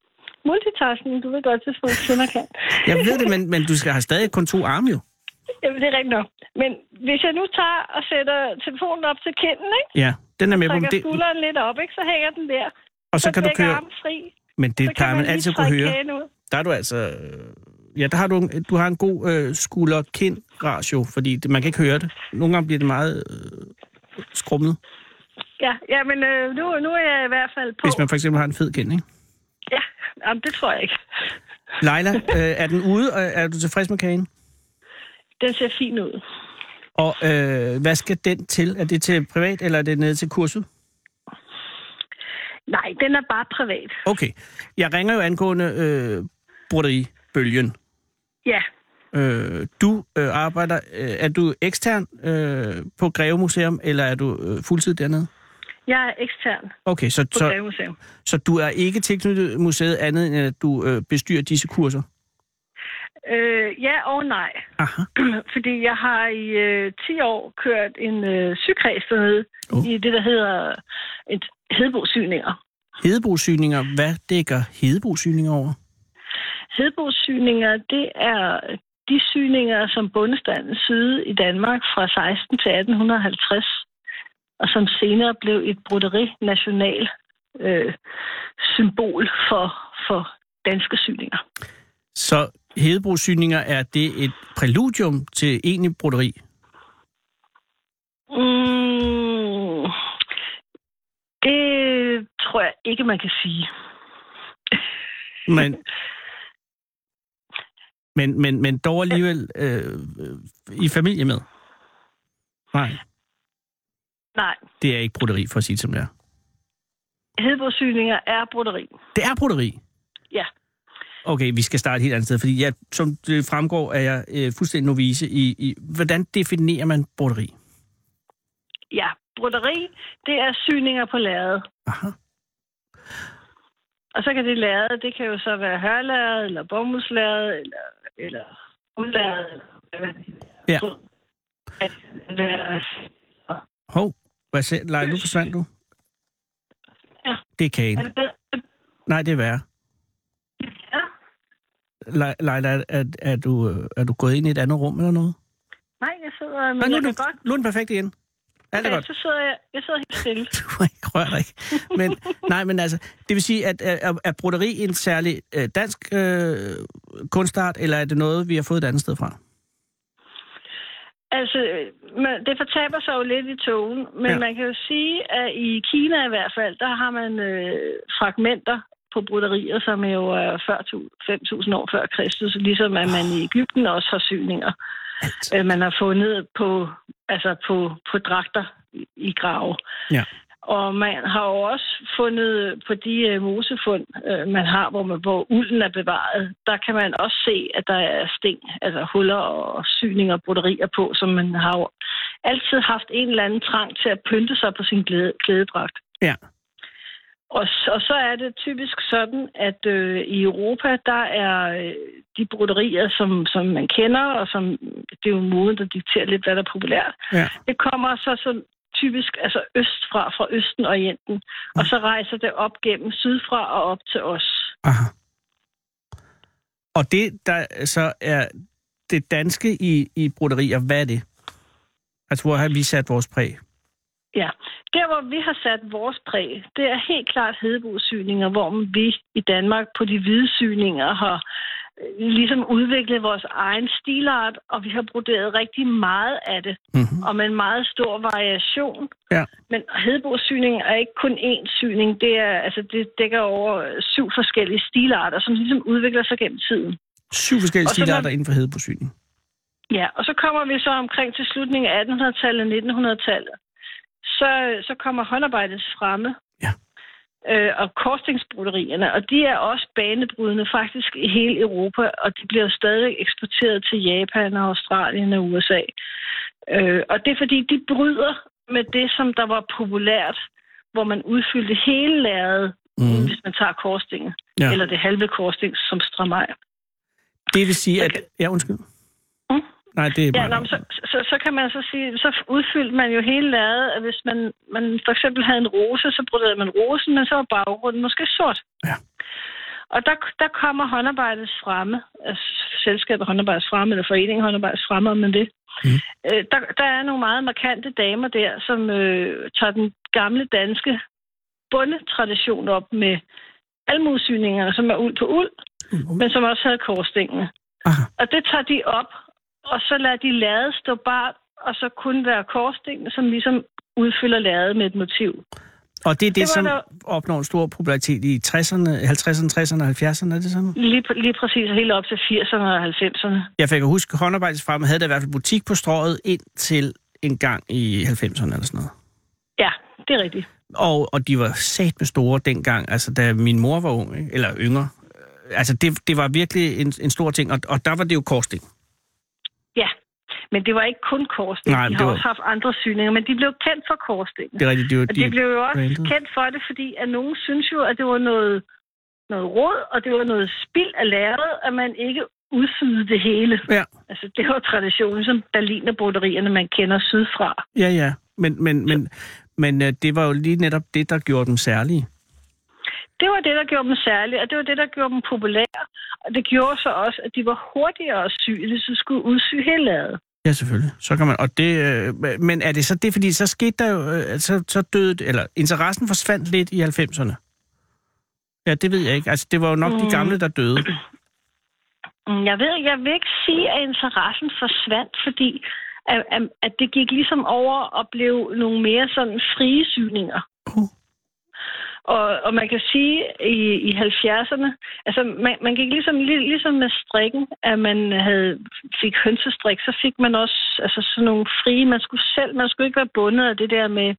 S6: Multitasking, du ved godt, det er kvinder kan.
S4: Jeg ved det, men, men du skal have stadig kun to arme jo.
S6: Jamen, det er rigtigt nok. Men hvis jeg nu tager og sætter telefonen op til kinden, ikke?
S4: Ja, den er med på men
S6: Trækker
S4: det.
S6: skulderen lidt op, ikke? Så hænger den der.
S4: Og så kan du
S6: begge
S4: køre...
S6: arme fri.
S4: Men det
S6: så kan
S4: plejer man
S6: lige
S4: altid at kunne
S6: trække
S4: høre.
S6: kagen ud.
S4: Der er du altså... øh, Ja, der har du, en- du har en god øh, skulder-kind-ratio, fordi det, man kan ikke høre det. Nogle gange bliver det meget øh, skrummet,
S6: Ja, ja men øh, nu, nu er jeg i hvert fald på.
S4: hvis man for eksempel har en fed kind, ikke?
S6: Ja, jamen, det tror jeg ikke.
S4: Leila, øh, er den ude, og er du tilfreds med kagen?
S6: Den ser fin ud.
S4: Og øh, hvad skal den til? Er det til privat, eller er det ned til kurset?
S6: Nej, den er bare privat.
S4: Okay. Jeg ringer jo angående øh, broderi-bølgen.
S6: Ja,
S4: Øh, du øh, arbejder... Øh, er du ekstern øh, på Greve Museum, eller er du øh, fuldtid dernede?
S6: jeg er ekstern
S4: Okay, så,
S6: på
S4: så,
S6: Greve Museum.
S4: Så du er ikke tilknyttet museet andet, end at du øh, bestyrer disse kurser?
S6: Øh, ja og nej.
S4: Aha.
S6: Fordi jeg har i øh, 10 år kørt en øh, sygkreds dernede
S4: Oh.
S6: oh. i det, der hedder et hedebosyninger.
S4: Hedebosygninger, hvad dækker hedebosygninger over?
S6: Hedebosyninger, det er de syninger, som bundestanden syede i Danmark fra 16 til 1850, og som senere blev et broderi-national øh, symbol for, for danske syninger.
S4: Så hedebosygninger, er det et præludium til egentlig broderi?
S6: Mm, det tror jeg ikke, man kan sige.
S4: Men, men, men, men dog alligevel øh, øh, i familie med? Nej,
S6: Nej,
S4: det er ikke broderi, for at sige det som det er.
S6: hedebordsyninger er broderi.
S4: Det er broderi?
S6: Ja.
S4: Okay, vi skal starte et helt andet sted, fordi jeg, som det fremgår, er jeg øh, fuldstændig novice i, i, hvordan definerer man broderi?
S6: Ja, broderi, det er syninger på lærred.
S4: Aha.
S6: Og så kan det lærred, det kan jo så være hørlærred, eller bomuldslærred, eller, eller uldlærred, eller hvad man
S4: Ja.
S6: Lærred.
S4: Hov, hvad sagde Nej, nu forsvandt du.
S6: Ja.
S4: Det er
S6: Er
S4: kagen.
S6: det bedre?
S4: Nej, det er værre.
S6: Ja.
S4: Le- Leila, er, er, du, øh, er du gået ind i et andet rum eller noget?
S6: Nej, jeg sidder, men
S4: Nej, nu,
S6: jeg
S4: er
S6: kan
S4: du,
S6: godt...
S4: nu er den perfekt igen. Alt er
S6: Ja,
S4: godt.
S6: så sidder jeg, jeg sidder helt stille.
S4: Du må ikke røre dig. Men, nej, men altså, det vil sige, at er, er- er broderi en særlig øh, dansk øh, kunstart, eller er det noget, vi har fået et andet sted fra?
S6: Altså, øh, man, det fortaber sig jo lidt i togen, men
S4: Ja.
S6: ja. man kan jo sige, at i Kina i hvert fald, der har man øh, fragmenter på broderier, som jo er 40.000, 5.000 år før Kristus, ligesom at man i Ægypten også har syninger.
S4: Alt.
S6: Øh, man har fundet på, altså på, på dragter i, i grave.
S4: Ja.
S6: Og man har jo også fundet øh, på de øh, mosefund, øh, man har, hvor, man, hvor ulden er bevaret, der kan man også se, at der er sten, altså huller og syninger og broderier på, som man har jo altid haft en eller anden trang til at pynte sig på sin glæde, glædedragt.
S4: Ja.
S6: Og, s- og så er det typisk sådan, at øh, i Europa, der er øh, de broderier, som, som man kender, og som det er jo moden, der dikterer lidt, hvad der er populært.
S4: Ja.
S6: Det kommer så, så typisk altså østfra, fra Østen og Orienten, og så rejser det op gennem sydfra og op til os.
S4: Aha. Og det, der så er det danske i, i broderier, hvad er det? Altså, hvor har vi sat vores præg?
S6: Ja. Der, hvor vi har sat vores præg, det er helt klart hedebogsyninger, hvor vi i Danmark på de hvide syninger har øh, ligesom udviklet vores egen stilart, og vi har broderet rigtig meget af det,
S4: Mm-hmm.
S6: og med en meget stor variation.
S4: Ja.
S6: Men hedebogsyning er ikke kun én syning, det, er, altså, det dækker over syv forskellige stilarter, som ligesom udvikler sig gennem tiden.
S4: Syv forskellige
S6: Og så
S4: stilarter
S6: man-
S4: inden for hedebosygning.
S6: Ja, og så kommer vi så omkring til slutningen af 1800-tallet, 1900-tallet. Så, så kommer håndarbejdet fremme.
S4: Ja.
S6: Øh, og korsningsbroderierne, og de er også banebrydende faktisk i hele Europa, og de bliver stadig eksporteret til Japan og Australien og USA. Øh, og det er fordi, de bryder med det, som der var populært, hvor man udfyldte hele lærredet, mm.
S4: Mm.
S6: hvis man tager korstingen,
S4: Ja.
S6: ja. eller det halve korsting som strammer.
S4: Det vil sige, at...
S6: Okay.
S4: Ja, undskyld.
S6: Mm.
S4: Nej, det er
S6: Ja,
S4: bare...
S6: nå, men så, så, så kan man så sige, så udfyldte man jo hele lærredet, at hvis man, man for eksempel havde en rose, så broderede man rosen, men så var baggrunden måske sort.
S4: Ja.
S6: Og der, der kommer håndarbejdets fremme, altså selskabet håndarbejdets fremme, eller foreningen håndarbejdets fremme, om man det.
S4: Mhm.
S6: Mm. Øh, der, der er nogle meget markante damer der, som øh, tager den gamle danske bundetradition op med almudsyningerne, som er uld på uld, men som også havde korsstængene.
S4: Aha.
S6: Og det tager de op, og så lader de lade stå bare, og så kun være korsstenen, som ligesom udfylder ladet med et motiv.
S4: Og det er det,
S6: Det var
S4: det som
S6: der-
S4: opnår en stor popularitet i 60'erne, 50'erne, 60'erne og 70'erne, er det sådan?
S6: Lige, pr- lige præcis helt op til 80'erne og 90'erne.
S4: Jeg fik at huske, at håndarbejdesfremme havde der i hvert fald butik på strøget indtil en gang i 90'erne eller sådan noget.
S6: Ja, det er rigtigt.
S4: Og, og de var sat med store dengang, altså da min mor var ung, ikke? eller yngre. Øh, Altså det, det var virkelig en, en stor ting, og, og der var det jo korsting.
S6: Ja, men det var ikke kun korssten.
S4: Nej,
S6: de
S4: men
S6: har
S4: det var-
S6: også haft andre syninger, men de blev kendt for korsstenen.
S4: Det er rigtigt, det var
S6: Og de blev jo også
S4: branded.
S6: kendt for det, fordi at nogen synes jo, at det var noget, noget råd, og det var noget spild af lærredet, at man ikke udfyldte det hele.
S4: Ja,
S6: Altså, det var traditionen, som Berlinerbroderierne, man kender sydfra.
S4: ja, ja. Men, men, men, men øh, det var jo lige netop det, der gjorde dem særlige.
S6: Det var det, der gjorde dem særlige, og det var det, der gjorde dem populære. Og det gjorde så også, at de var hurtigere at sy, hvis de skulle udsy hele ladet.
S4: Ja, selvfølgelig. Så kan man, og det, øh, men er det så det, fordi så skete der jo, øh, så, så døde, det- eller interessen forsvandt lidt i 90'erne? Ja, det ved jeg ikke. Altså, det var jo nok mm. de gamle, der døde.
S6: Mm, Jeg ved, ikke- jeg vil ikke sige, at interessen forsvandt, fordi at, at- at det gik ligesom over og blev nogle mere sådan frie syninger.
S4: Uh.
S6: Og, og man kan sige i, i 70'erne, altså man, man gik ligesom, lig- ligesom med strikken, at man havde, fik hønsestrik, så fik man også altså sådan nogle frie, man skulle selv, man skulle ikke være bundet af det der med,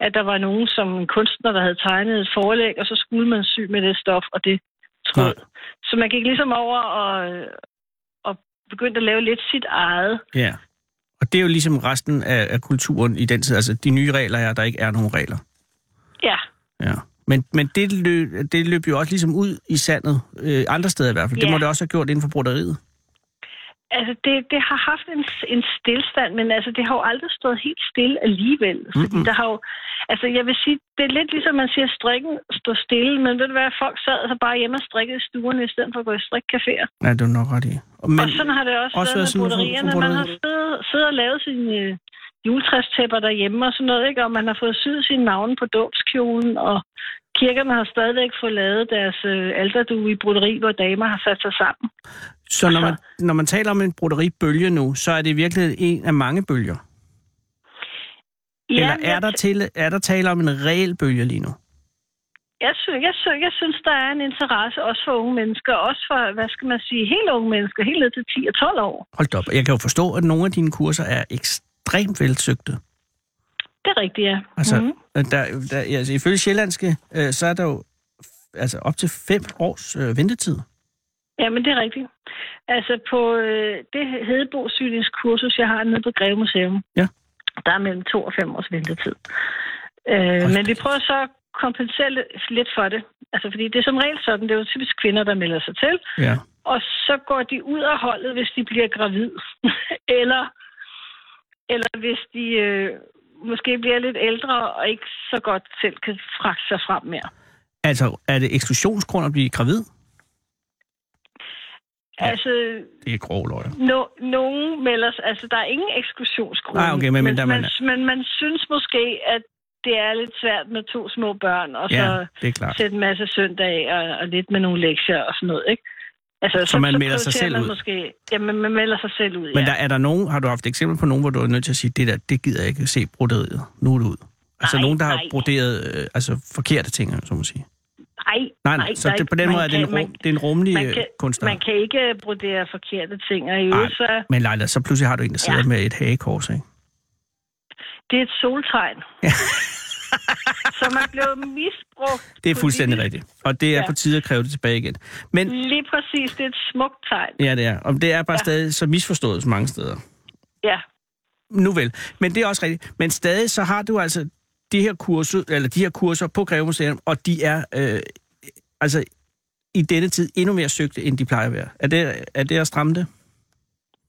S6: at der var nogen som en kunstner, der havde tegnet et forlæg, og så skulle man sy med det stof og det tråd.
S4: Nej.
S6: Så man gik ligesom over og, og begyndte at lave lidt sit eget.
S4: Ja. Og det er jo ligesom resten af, af kulturen i den tid. Altså, de nye regler er, at der ikke er nogen regler.
S6: Ja,
S4: Ja. Men, men det, løb, det løb jo også ligesom ud i sandet, øh, andre steder i hvert fald. Ja. Det
S6: Ja.
S4: må det også have gjort inden for broderiet.
S6: Altså, det, det har haft en, en stillstand, men altså, det har jo aldrig stået helt stille alligevel. Fordi
S4: Mhm.
S6: mm-hmm. der har jo, altså, jeg vil sige, det er lidt ligesom, man siger, at strikken står stille, men ved du hvad, folk sad altså bare hjemme og strikkede i stuerne, i stedet for at gå i strikcaféer.
S4: Ja, det er du nok ret i. Men,
S6: og sådan har det også,
S4: også
S6: også
S4: været
S6: været med
S4: sådan for- for
S6: broderierne. Man har
S4: broderiet.
S6: siddet, siddet og lavet sine øh, juletræstæpper derhjemme og sådan noget, ikke? Og man har fået syet sine navne på dåbskjolen, og kirkerne har stadigvæk fået lavet deres øh, alderdue i broderi, hvor damer har sat sig sammen.
S4: så når man, når man taler om en broderibølge nu, så er det virkelig en af mange bølger. Eller
S6: men
S4: er
S6: jeg
S4: der, til, er der tale om en reel bølge lige nu?
S6: jeg, synes, jeg, synes, jeg synes, der er en interesse også for unge mennesker, også for, hvad skal man sige, helt unge mennesker, helt ned til 10 og 12 år.
S4: Hold da op. Jeg kan jo forstå, at nogle af dine kurser er ekstremt velsøgte.
S6: Det er rigtigt, ja.
S4: Altså,
S6: Mhm.
S4: mm-hmm. der, der, altså ifølge Sjællandske, øh, så er der jo f- altså op til fem års øh, ventetid.
S6: Jamen, det er rigtigt. Altså, på øh, det hedebosyningskursus, jeg har nede på Greve Museum,
S4: Ja.
S6: der er mellem to og fem års ventetid. Øh,
S4: Hold
S6: men vi prøver så at kompensere lidt- lidt for det. Altså, fordi det er som regel sådan, det er jo typisk kvinder, der melder sig til,
S4: Ja.
S6: og så går de ud af holdet, hvis de bliver gravid. eller, eller hvis de øh, måske bliver lidt ældre og ikke så godt selv kan fragte sig frem mere.
S4: Altså, er det eksklusionsgrund at blive gravid?
S6: Ja. Altså,
S4: Det er grov løg.
S6: no, nogen melder sig- altså der er ingen eksklusionsgrunde.
S4: Nej, okay, men- men der
S6: men,
S4: man-
S6: man, men man synes måske, at det er lidt svært med to små børn, og
S4: Ja,
S6: så
S4: det er klart.
S6: sætte en masse søndag og, og lidt med nogle lektier og sådan noget, ikke? Altså,
S4: Så man melder sig
S6: prioriterer
S4: selv
S6: man
S4: ud?
S6: Måske, jamen, man melder sig selv ud,
S4: Men
S6: ja.
S4: der, er der nogen, har du haft eksempler på nogen, hvor du er nødt til at sige, det der, det gider jeg ikke se broderiet. Nu er det ud. Altså
S6: Nej,
S4: nogen, der har
S6: nej.
S4: broderet øh, altså, forkerte ting, så må man sige.
S6: Nej,
S4: Nej, nej,
S6: nej,
S4: så
S6: der er
S4: det,
S6: ikke-
S4: på den
S6: man
S4: måde er det en,
S6: kan-
S4: rum,
S6: man-
S4: det er en rummelig
S6: Man kan,
S4: øh, kunstner.
S6: man kan ikke brodere forkerte ting, og i
S4: Nej.
S6: øvrigt så
S4: Men Leila, så pludselig har du en, der sidder ja.
S6: Ja.
S4: med et hagekors, ikke?
S6: det er et soltegn. så man blev misbrugt.
S4: Det er fuldstændig
S6: politisk.
S4: rigtigt. Og det er ja.
S6: Ja.
S4: på tide at kræve det tilbage igen. Men
S6: Lige præcis, det er et smukt tegn.
S4: ja, det er. Og det er bare ja.
S6: Ja.
S4: stadig så misforstået så mange steder.
S6: Ja,
S4: Nu vel. Men det er også rigtigt. Men stadig så har du altså de her kurser, eller de her kurser på Greve Museum, og de er øh, altså i denne tid endnu mere søgte, end de plejer at være. Er det, er det at stramme det?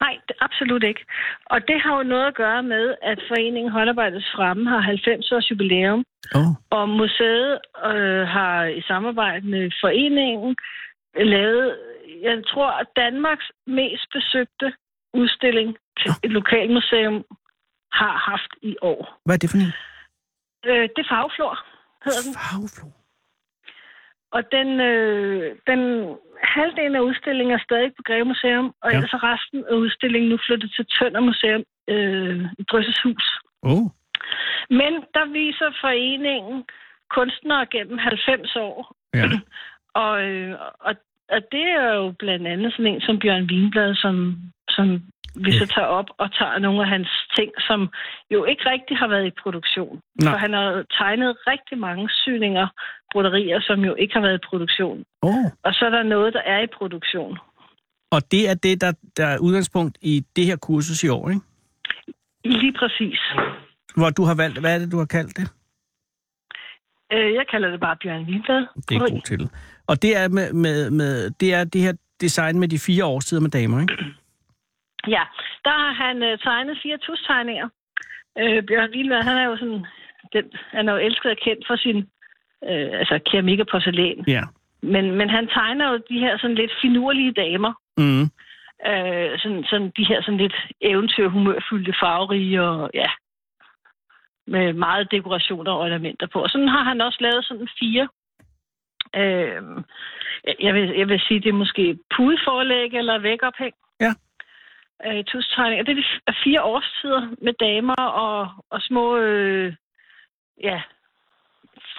S6: nej, det, absolut ikke. Og det har jo noget at gøre med, at foreningen Håndarbejdets Fremme har 90 års jubilæum,
S4: Oh.
S6: og museet øh, har i samarbejde med foreningen lavet, jeg tror, Danmarks mest besøgte udstilling til et lokalmuseum har haft i år.
S4: Hvad er det for en
S6: Øh, det er farveflor, hedder den.
S4: farveflor?
S6: Og den, øh, den halvdelen af udstillingen er stadig på Greve Museum, og
S4: Ja.
S6: ja. ellers er resten af udstillingen nu flyttet til Tønder Museum øh, i Drøsses Hus.
S4: Oh.
S6: Men der viser foreningen kunstnere gennem 90 år.
S4: Ja.
S6: Og, øh, og, og det er jo blandt andet sådan en som Bjørn Wienblad, som, som vi så tager op og tager nogle af hans ting, som jo ikke rigtig har været i produktion.
S4: Nej.
S6: For han har jo tegnet rigtig mange syninger, broderier, som jo ikke har været i produktion.
S4: Oh.
S6: Og så er der noget, der er i produktion.
S4: Og det er det, der, der er udgangspunkt i det her kursus i år, ikke?
S6: Lige præcis.
S4: Hvor du har valgt, hvad er det, du har kaldt det?
S6: Øh, jeg kalder det bare Bjørn Wienblad.
S4: Det er en god titel. Og det er, med, med, med, det er det her design med de fire årstider med damer, ikke?
S6: Ja, der har han øh, tegnet fire tustegninger. Øh, Bjørn Wienberg, han er jo sådan, den, han er jo elsket og kendt for sin øh, altså keramik og porcelæn.
S4: Ja.
S6: Men, men han tegner jo de her sådan lidt finurlige damer.
S4: Mm.
S6: Øh, sådan, sådan, de her sådan lidt eventyrhumørfyldte farverige og ja, med meget dekorationer og ornamenter på. Og sådan har han også lavet sådan fire. Øh, jeg, vil, jeg vil sige, det er måske pudeforlæg eller vægophæng.
S4: Ja.
S6: Øh, tustegninger. Det er de f- fire årstider med damer og, og små øh, ja,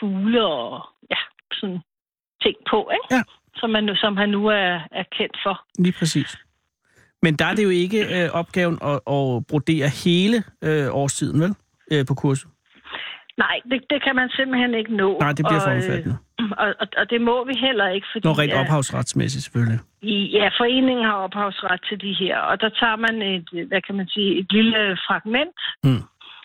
S6: fugle og ja, sådan ting på, ikke?
S4: Ja.
S6: Som, man, nu- som han nu er, er kendt for.
S4: Lige præcis. Men der er det jo ikke øh, opgaven at, at brodere hele øh, årstiden, vel? Øh, på kurset.
S6: Nej, det, det kan man simpelthen ikke nå.
S4: Nej, det bliver
S6: og,
S4: for omfattende.
S6: øh, Og, og, og det må vi heller ikke, fordi
S4: Når rent
S6: at-
S4: ophavsretsmæssigt, selvfølgelig.
S6: i- ja, foreningen har ophavsret til de her, og der tager man et, øh, hvad kan man sige, et lille fragment,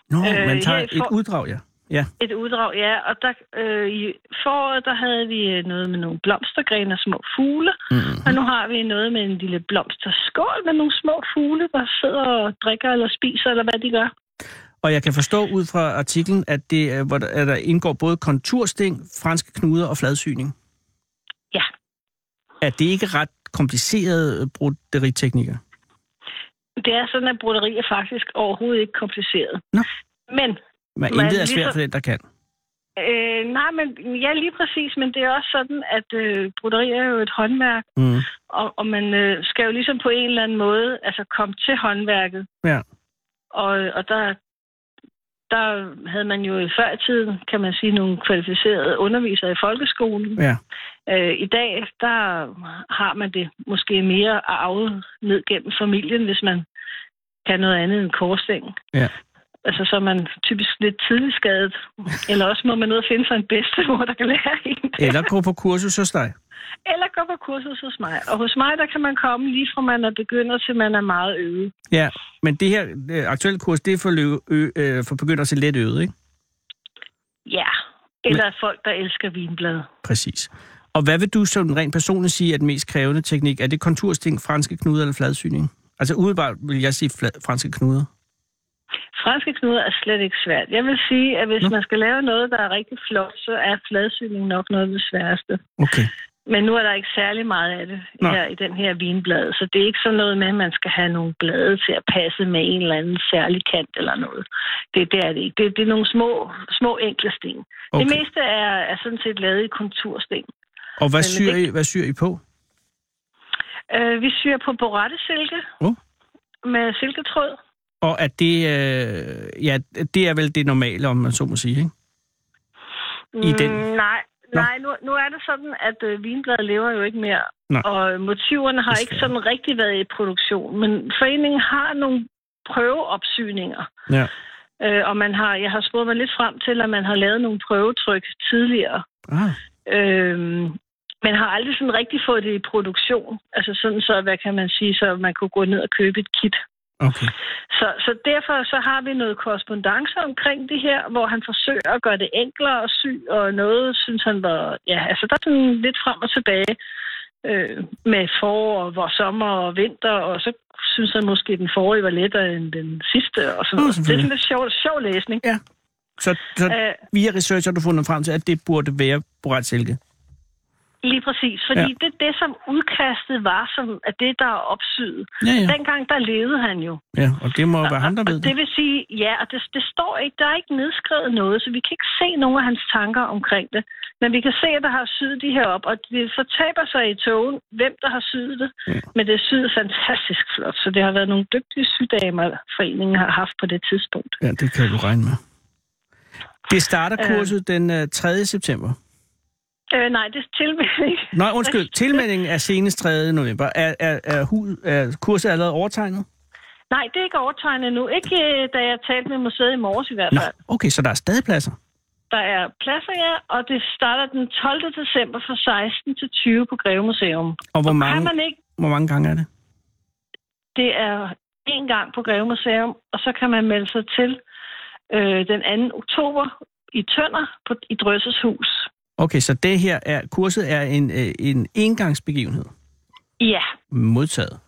S4: Nå,
S6: Øh,
S4: man tager
S6: her i
S4: et
S6: for-
S4: uddrag, ja. Ja,
S6: et uddrag, ja, og der, øh, i foråret, der havde vi øh, noget med nogle blomstergrene og små fugle,
S4: mm.
S6: og nu har vi noget med en lille blomsterskål med nogle små fugle, der sidder og drikker eller spiser, eller hvad de gør.
S4: Og jeg kan forstå ud fra artiklen, at, det, er, hvor der, at der indgår både kontursting, franske knuder og fladsyning.
S6: Ja.
S4: Er det ikke ret komplicerede øh, broderiteknikker?
S6: Det er sådan, at broderi er faktisk overhovedet ikke kompliceret.
S4: Nå.
S6: Men
S4: Men
S6: Men
S4: intet er
S6: ligesom-
S4: svært for den, der kan.
S6: Øh, nej, men ja, lige præcis, men det er også sådan, at øh, broderi er jo et håndværk,
S4: Mm.
S6: og, og man øh, skal jo ligesom på en eller anden måde altså komme til håndværket.
S4: Ja.
S6: Og, og der, der havde man jo i før i tiden, kan man sige, nogle kvalificerede undervisere i folkeskolen.
S4: Ja.
S6: Øh, I dag, der har man det måske mere arvet ned gennem familien, hvis man kan noget andet end korsting.
S4: Ja.
S6: Altså, så er man typisk lidt tidligt skadet. Eller også må man ud og finde sig en bedstemor, der kan lære en.
S4: Eller gå på kursus hos dig.
S6: Eller gå på kursus hos mig. Og hos mig, der kan man komme lige fra man er begynder til man er meget øvet.
S4: Ja, men det her øh, aktuelle kurs, det er for, lø- ø- øh, for begynder til let øvet, ikke?
S6: Ja. Eller folk, der elsker vinblad.
S4: Præcis. Og hvad vil du som rent personligt sige er den mest krævende teknik? Er det kontursting, franske knuder eller fladsyning? Altså umiddelbart vil jeg sige fla- franske knuder.
S6: Franske knuder er slet ikke svært. Jeg vil sige, at hvis
S4: Nå.
S6: man skal lave noget, der er rigtig flot, så er fladsyning nok noget af det sværeste.
S4: Okay.
S6: Men nu er der ikke særlig meget af det
S4: Nej.
S6: her i den her vinblad, så det er ikke sådan noget med, at man skal have nogle blade til at passe med en eller anden særlig kant eller noget. Det, det er det ikke. Det, det er nogle små, små enkle sten. Okay. Det
S4: okay.
S6: meste er, er sådan set lavet i kontursten.
S4: Og hvad
S6: Men
S4: syr,
S6: det-
S4: I, hvad syr I på?
S6: Øh, vi syr på borettesilke
S4: Uh.
S6: med silketråd.
S4: Og er det, øh, ja, det er vel det normale, om man så må sige, ikke? I den-
S6: Mm, nej,
S4: Nå.
S6: Nej, nu, nu er det sådan, at øh, vinbladet lever jo ikke mere.
S4: Nej.
S6: Og øh, motiverne har ikke
S4: Desværre.
S6: sådan rigtig været i produktion. Men foreningen har nogle prøveopsygninger.
S4: Ja.
S6: Øh, og man har, jeg har spurgt mig lidt frem til, at man har lavet nogle prøvetryk tidligere.
S4: Ah,
S6: Øh, men har aldrig sådan rigtig fået det i produktion. Altså sådan så, hvad kan man sige, så man kunne gå ned og købe et kit.
S4: okay.
S6: Så, så derfor så har vi noget korrespondence omkring det her, hvor han forsøger at gøre det enklere at sy, og noget synes han var... Ja, altså der er sådan lidt frem og tilbage øh, med forår, og hvor sommer og vinter, og så synes han måske, at den forrige var lettere end den sidste, og sådan
S4: Nå,
S6: noget. Det er
S4: selvfølgelig.
S6: sådan lidt sjov, sjov læsning.
S4: Så, så
S6: Øh,
S4: via research har du fundet frem til, at det burde være Borat Silke.
S6: lige præcis, fordi ja. det er det, som udkastet var, som er det, der er opsyet.
S4: Ja, ja.
S6: Ja. Dengang, der levede han jo.
S4: ja og det må være ham, der
S6: og
S4: ved det.
S6: det vil sige, ja, og det, det står ikke, der er ikke nedskrevet noget, så vi kan ikke se nogen af hans tanker omkring det. Men vi kan se, at der har syet de her op, og det fortaber sig i togen, hvem der har syet det.
S4: Ja.
S6: Ja. Men det er syet fantastisk flot, så det har været nogle dygtige sydamer, foreningen har haft på det tidspunkt.
S4: Ja, det kan du regne med. Det starter
S6: Øh.
S4: kurset den øh, 3. september.
S6: Øh, nej, det er tilmelding.
S4: Nej, undskyld. Tilmeldingen er senest 3. november. Er, er, er, hu- er kurset allerede overtegnet?
S6: Nej, det er ikke overtegnet nu. Ikke øh, da jeg talte med museet i morges i hvert
S4: Nå,
S6: fald.
S4: okay, så der er stadig pladser.
S6: Der er pladser, ja, og det starter den 12. december fra 16 til 20 på Greve Museum.
S4: Og hvor mange,
S6: Kan man ikke
S4: hvor mange gange er det?
S6: Det er en gang på Greve Museum, og så kan man melde sig til øh, den 2. oktober i Tønder på, i Drøsses hus.
S4: Okay, så det her er, kurset er en, øh, en engangsbegivenhed.
S6: Ja,
S4: Modtaget.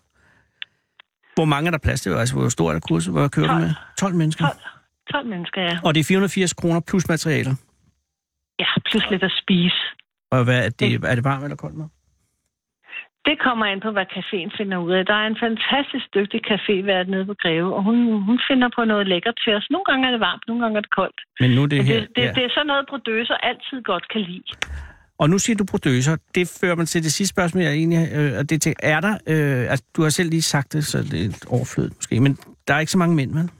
S4: Hvor mange er der plads til? Altså, hvor stort er kurset? Hvor kører du med? 12 mennesker.
S6: 12, 12 mennesker, ja.
S4: Og det er 480 kroner plus materialer.
S6: Ja, plus lidt at spise.
S4: Og hvad er
S6: Mm.
S4: det? Er det varmt eller koldt med?
S6: Det kommer an på, hvad caféen finder ud af. Der er en fantastisk dygtig cafévært nede på Greve, og hun, hun finder på noget lækkert til os. Nogle gange er det varmt, nogle gange er det koldt.
S4: Men nu er det
S6: Men
S4: her.
S6: det, det, det er sådan noget, producer altid godt kan lide.
S4: Og nu siger du producer. Det fører mig til det sidste spørgsmål, jeg egentlig... Øh, og det er til, er der... Øh, altså, du har selv lige sagt det, så det er lidt overflødigt måske. Men der er ikke så mange mænd, vel?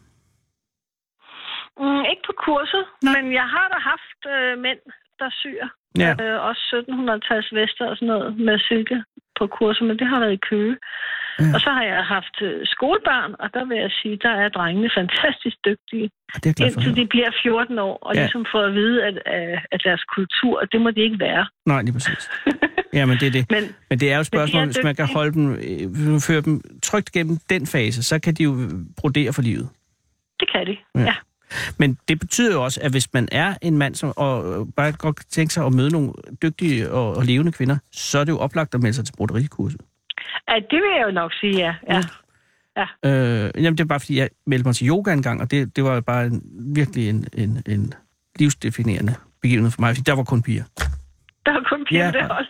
S6: Mm, ikke på kurset, men jeg har da haft øh, mænd, der syr.
S4: Ja.
S6: Øh, også 1700-tals vester og sådan noget med silke på kurser, men det har været i Køge.
S4: Ja.
S6: Ja. Og så har jeg haft øh, skolebørn, og der vil jeg sige, der er drengene fantastisk dygtige,
S4: Og det er jeg glad for. at
S6: indtil
S4: høre.
S6: de bliver 14 år, og
S4: Ja.
S6: ja. ligesom får at vide, at, øh, at deres kultur, det må det ikke være.
S4: Nej, lige præcis. Jamen, det er det.
S6: Men
S4: Men det er jo et spørgsmål,
S6: er
S4: hvis man kan
S6: dygtige.
S4: holde dem, øh, hvis man fører dem trygt gennem den fase, så kan de jo brodere for livet.
S6: det kan de.
S4: Ja.
S6: Ja. ja.
S4: Men det betyder jo også, at hvis man er en mand, som og øh, bare godt kan tænke sig at møde nogle dygtige og, og levende kvinder, så er det jo oplagt at melde sig til broderikurset.
S6: At det vil jeg jo nok sige, ja. ja.
S4: Øh, jamen, det er bare, fordi jeg meldte mig til yoga engang, og det, det var jo bare en, virkelig en, en, en livsdefinerende begivenhed for mig, fordi der var kun piger.
S6: Der er kun piger
S4: Ja.
S6: ja. det hold.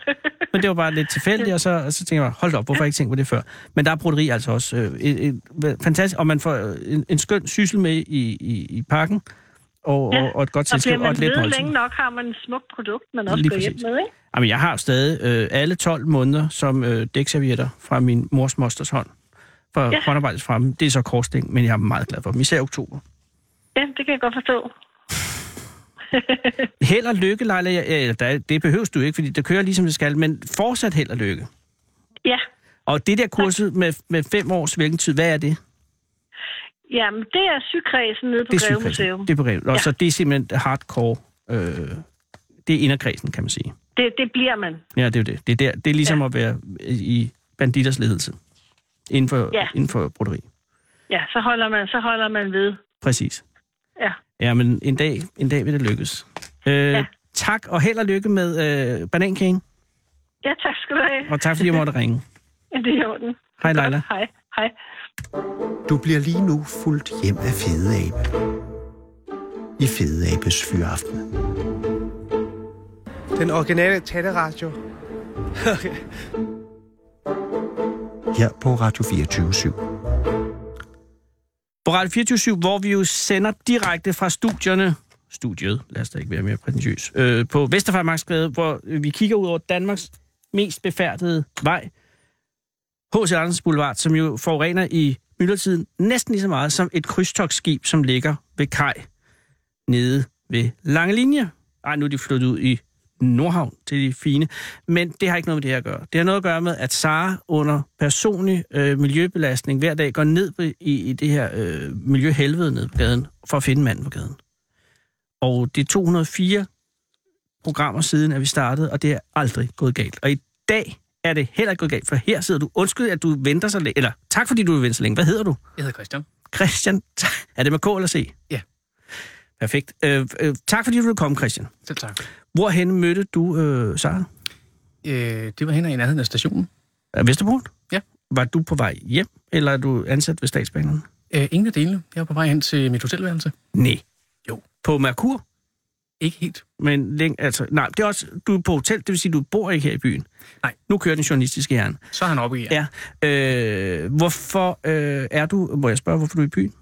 S4: Men det var bare lidt tilfældigt, og så, og så tænkte jeg, bare, hold da op, hvorfor har jeg ikke tænkt på det før? Men der er broderi altså også øh, et, et, et, fantastisk, og man får øh, en, en skøn syssel med i, i, i pakken, og,
S6: Ja,
S4: og, og et godt
S6: og bliver
S4: selskab, og
S6: man
S4: et let
S6: ved
S4: måltid.
S6: længe nok, har man et smukt produkt, man også
S4: Lige
S6: går hjem
S4: præcis.
S6: med, ikke?
S4: Jamen, jeg har jo stadig øh, alle 12 måneder som øh, dækservietter fra min mors mosters hånd. For ja.
S6: Ja.
S4: håndarbejdet fremme, det er så korsting, men jeg er meget glad for dem, især i oktober.
S6: Ja, det kan jeg godt forstå.
S4: Held og lykke, Leila. Ja, ja, der, det behøves du ikke, fordi det kører ligesom det skal, men fortsat held og lykke.
S6: Ja.
S4: Og det der kurset med, med fem års hvilken tid, hvad er det?
S6: Jamen, det er sygkredsen nede på
S4: Det er
S6: Greve
S4: sygekredsen.
S6: Museum.
S4: Det er på Greve. Og
S6: Ja.
S4: så det er simpelthen hardcore. Øh, det er inderkredsen, kan man sige.
S6: Det, det bliver man.
S4: Ja, det er jo det. Det er, der, det er ligesom ja. at være i banditters ledelse. Inden for, ja.
S6: Ja.
S4: inden for broderi.
S6: Ja, så holder man, så holder man ved.
S4: Præcis.
S6: Ja.
S4: Ja, men en dag, en dag vil det lykkes. Øh, ja. Tak, og held og lykke med øh, banankagen.
S6: Ja, tak skal du have.
S4: Og tak, fordi jeg måtte ringe.
S6: Ja, det er i orden.
S4: Hej, Leila.
S6: Godt, Hej. Hej.
S3: Du bliver lige nu fuldt hjem af Fede Abe. I Fede Abes Fyraften.
S7: Den originale taleradio.
S3: Her på Radio 24
S4: På Radio 24 hvor vi jo sender direkte fra studierne, studiet, lad os da ikke være mere prætentiøs, øh, på Vesterfarmarksgade, hvor øh, vi kigger ud over Danmarks mest befærdede vej, H.C. Andersens Boulevard, som jo forurener i myldretiden næsten lige så meget som et krydstogsskib, som ligger ved kaj nede ved Lange Linje. Ej, nu er de flyttet ud i Nordhavn til de fine. Men det har ikke noget med det her at gøre. Det har noget at gøre med, at Sara under personlig øh, miljøbelastning hver dag går ned på- i, i det her øh, miljøhelvede ned på gaden, for at finde manden på gaden. Og det er 204 programmer siden, at vi startede, og det er aldrig gået galt. Og i dag er det heller ikke gået galt, for her sidder du. Undskyld, at du venter så længe. Eller tak, fordi du vil vente så længe. Hvad hedder du?
S8: Jeg hedder Christian.
S4: Christian. Er det med K eller C?
S8: Ja.
S4: Perfekt. Øh, øh, tak, fordi du ville komme, Christian.
S8: Selv tak.
S4: Hvorhen mødte du øh, Sara?
S8: Øh, det var hen i nærheden af stationen.
S4: Er Vesterbro?
S8: Ja.
S4: Var du på vej hjem, eller er du ansat ved statsbanerne?
S8: Øh, ingen af delene. Jeg var på vej hen til mit hotelværelse.
S4: Nej.
S8: Jo.
S4: På Merkur?
S8: Ikke helt.
S4: Men læng, altså, nej, det er også, du er på hotel, det vil sige, du bor ikke her i byen.
S8: Nej.
S4: Nu kører den journalistiske hjerne.
S8: Så er han oppe igen.
S4: Ja. Øh, hvorfor øh, er du, må jeg spørge, hvorfor du er i byen?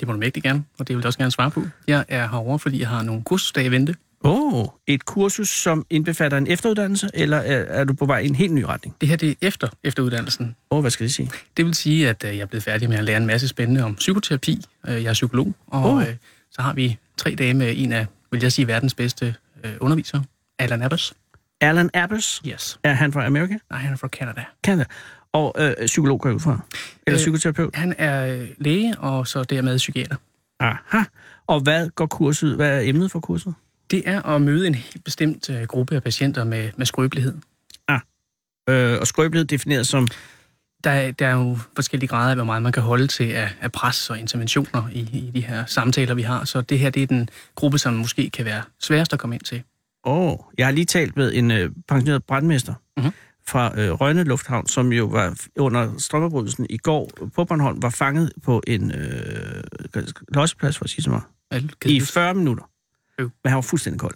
S8: Det må du mægtig gerne, og det vil jeg også gerne svare på. Jeg er herovre, fordi jeg har nogle kursusdage i vente.
S4: Åh, oh, et kursus, som indbefatter en efteruddannelse, eller er, er du på vej i en helt ny retning?
S8: Det her det er efter efteruddannelsen.
S4: Åh, oh, hvad skal det sige?
S8: Det vil sige, at øh, jeg er blevet færdig med at lære en masse spændende om psykoterapi. Øh, Jeg er psykolog, og
S4: Oh.
S8: oh. så har vi tre dage med en af, vil jeg sige, verdens bedste øh, undervisere. Alan Abbas.
S4: Alan Abbas,
S8: Yes.
S4: er han fra Amerika?
S8: Nej, han er fra Canada.
S4: Canada. Og øh, psykolog går jeg ud fra? Eller øh.
S8: Øh.
S4: psykoterapeut?
S8: Han er øh, læge, og så dermed psykiater.
S4: Aha. Og hvad går kurset, hvad er emnet for kurset?
S8: Det er at møde en helt bestemt øh, gruppe af patienter med, med skrøbelighed.
S4: Øh, og skrøbelighed defineret som...
S8: Der, er- der er jo forskellige grader af, hvor meget man kan holde til af, af pres og interventioner i, i de her samtaler, vi har. Så det her det er den gruppe, som måske kan være sværest at komme ind til.
S4: Åh, oh, jeg har lige talt med en øh, pensioneret brandmester
S8: Mhm.
S4: fra øh, Rønne Lufthavn, som jo var f- under strømafbrydelsen i går på Bornholm, var fanget på en øh, losseplads, for at sige så meget,
S8: Alle kan-
S4: i 40 minutter.
S8: Øv.
S4: Men han var fuldstændig kold.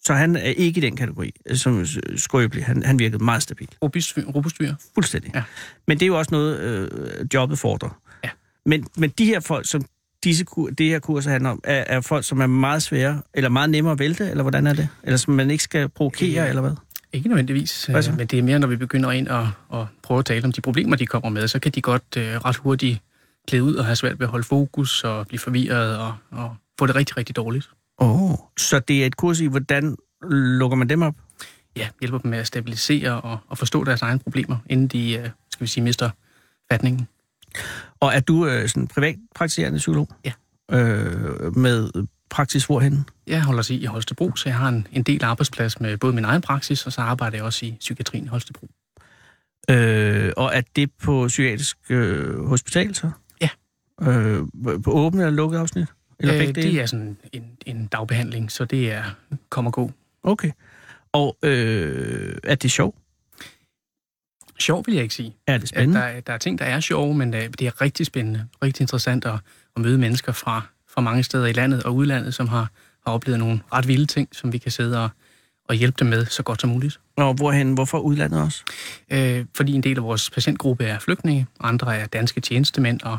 S4: Så han er ikke i den kategori, øh, som øh, skrøbelig. Han, han virkede meget stabil.
S8: Robust, robustdyr.
S4: Fuldstændig.
S8: Ja.
S4: Men det er jo også noget, øh, jobbet fordrer.
S8: Ja.
S4: Men, men de her folk, som disse, kur- det her kurs handler om, er, er folk, som er meget svære, eller meget nemmere at vælte, eller hvordan er det? Eller som man ikke skal provokere,
S8: Øh,
S4: eller hvad?
S8: Ikke nødvendigvis,
S4: Hvad så?
S8: øh, men det er mere, når vi begynder ind og, og prøve at tale om de problemer, de kommer med, så kan de godt øh, ret hurtigt klæde ud og have svært ved at holde fokus og blive forvirret og, og få det rigtig, rigtig dårligt.
S4: Oh. Så det er et kurs i, hvordan lukker man dem op?
S8: Ja, hjælper dem med at stabilisere og, og forstå deres egne problemer, inden de, øh, skal vi sige, mister fatningen.
S4: Og er du øh, sådan privat praktiserende psykolog?
S8: Ja.
S4: Øh, med praksis hvorhen?
S8: Jeg holder sig i Holstebro, så jeg har en, en del arbejdsplads med både min egen praksis, og så arbejder jeg også i psykiatrien i Holstebro.
S4: Øh, og er det på psykiatrisk øh, hospital så?
S8: Ja.
S4: Øh, på åbent eller lukket afsnit? Eller
S8: Øh,
S4: begge dele?
S8: det er sådan en, en dagbehandling, så det er kom og gå.
S4: Okay. Og øh, er det sjovt?
S8: Sjov vil jeg ikke sige.
S4: Er det
S8: at
S4: spændende?
S8: der, er- der er ting, der er sjove, men øh, det er rigtig spændende, rigtig interessant at, at møde mennesker fra, fra mange steder i landet og udlandet, som har, har oplevet nogle ret vilde ting, som vi kan sidde og, og hjælpe dem med så godt som muligt.
S4: Og hvorhen? Hvorfor udlandet også?
S8: Øh, fordi en del af vores patientgruppe er flygtninge, andre er danske tjenestemænd og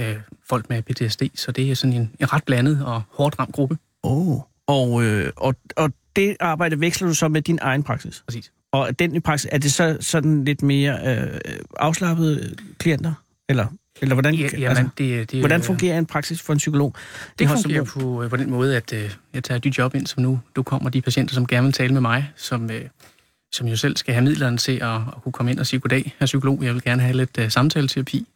S8: øh, folk med PTSD, så det er sådan en, en ret blandet og hårdt ramt gruppe.
S4: Oh. Og, øh, og, og det arbejde veksler du så med din egen praksis?
S8: Præcis.
S4: Og den i praksis, er det så sådan lidt mere øh, afslappede klienter? Eller, eller hvordan,
S8: Ja, jamen, det, det,
S4: altså, hvordan
S8: øh,
S4: fungerer en praksis for en psykolog? i
S8: Det
S4: Holstebro?
S8: fungerer på, øh, på den måde, at øh, jeg tager dit job ind, som nu, nu kommer de patienter, som gerne vil tale med mig, som, øh, som jo selv skal have midlerne til at, at kunne komme ind og sige goddag, herr psykolog, jeg vil gerne have lidt øh, samtaleterapi.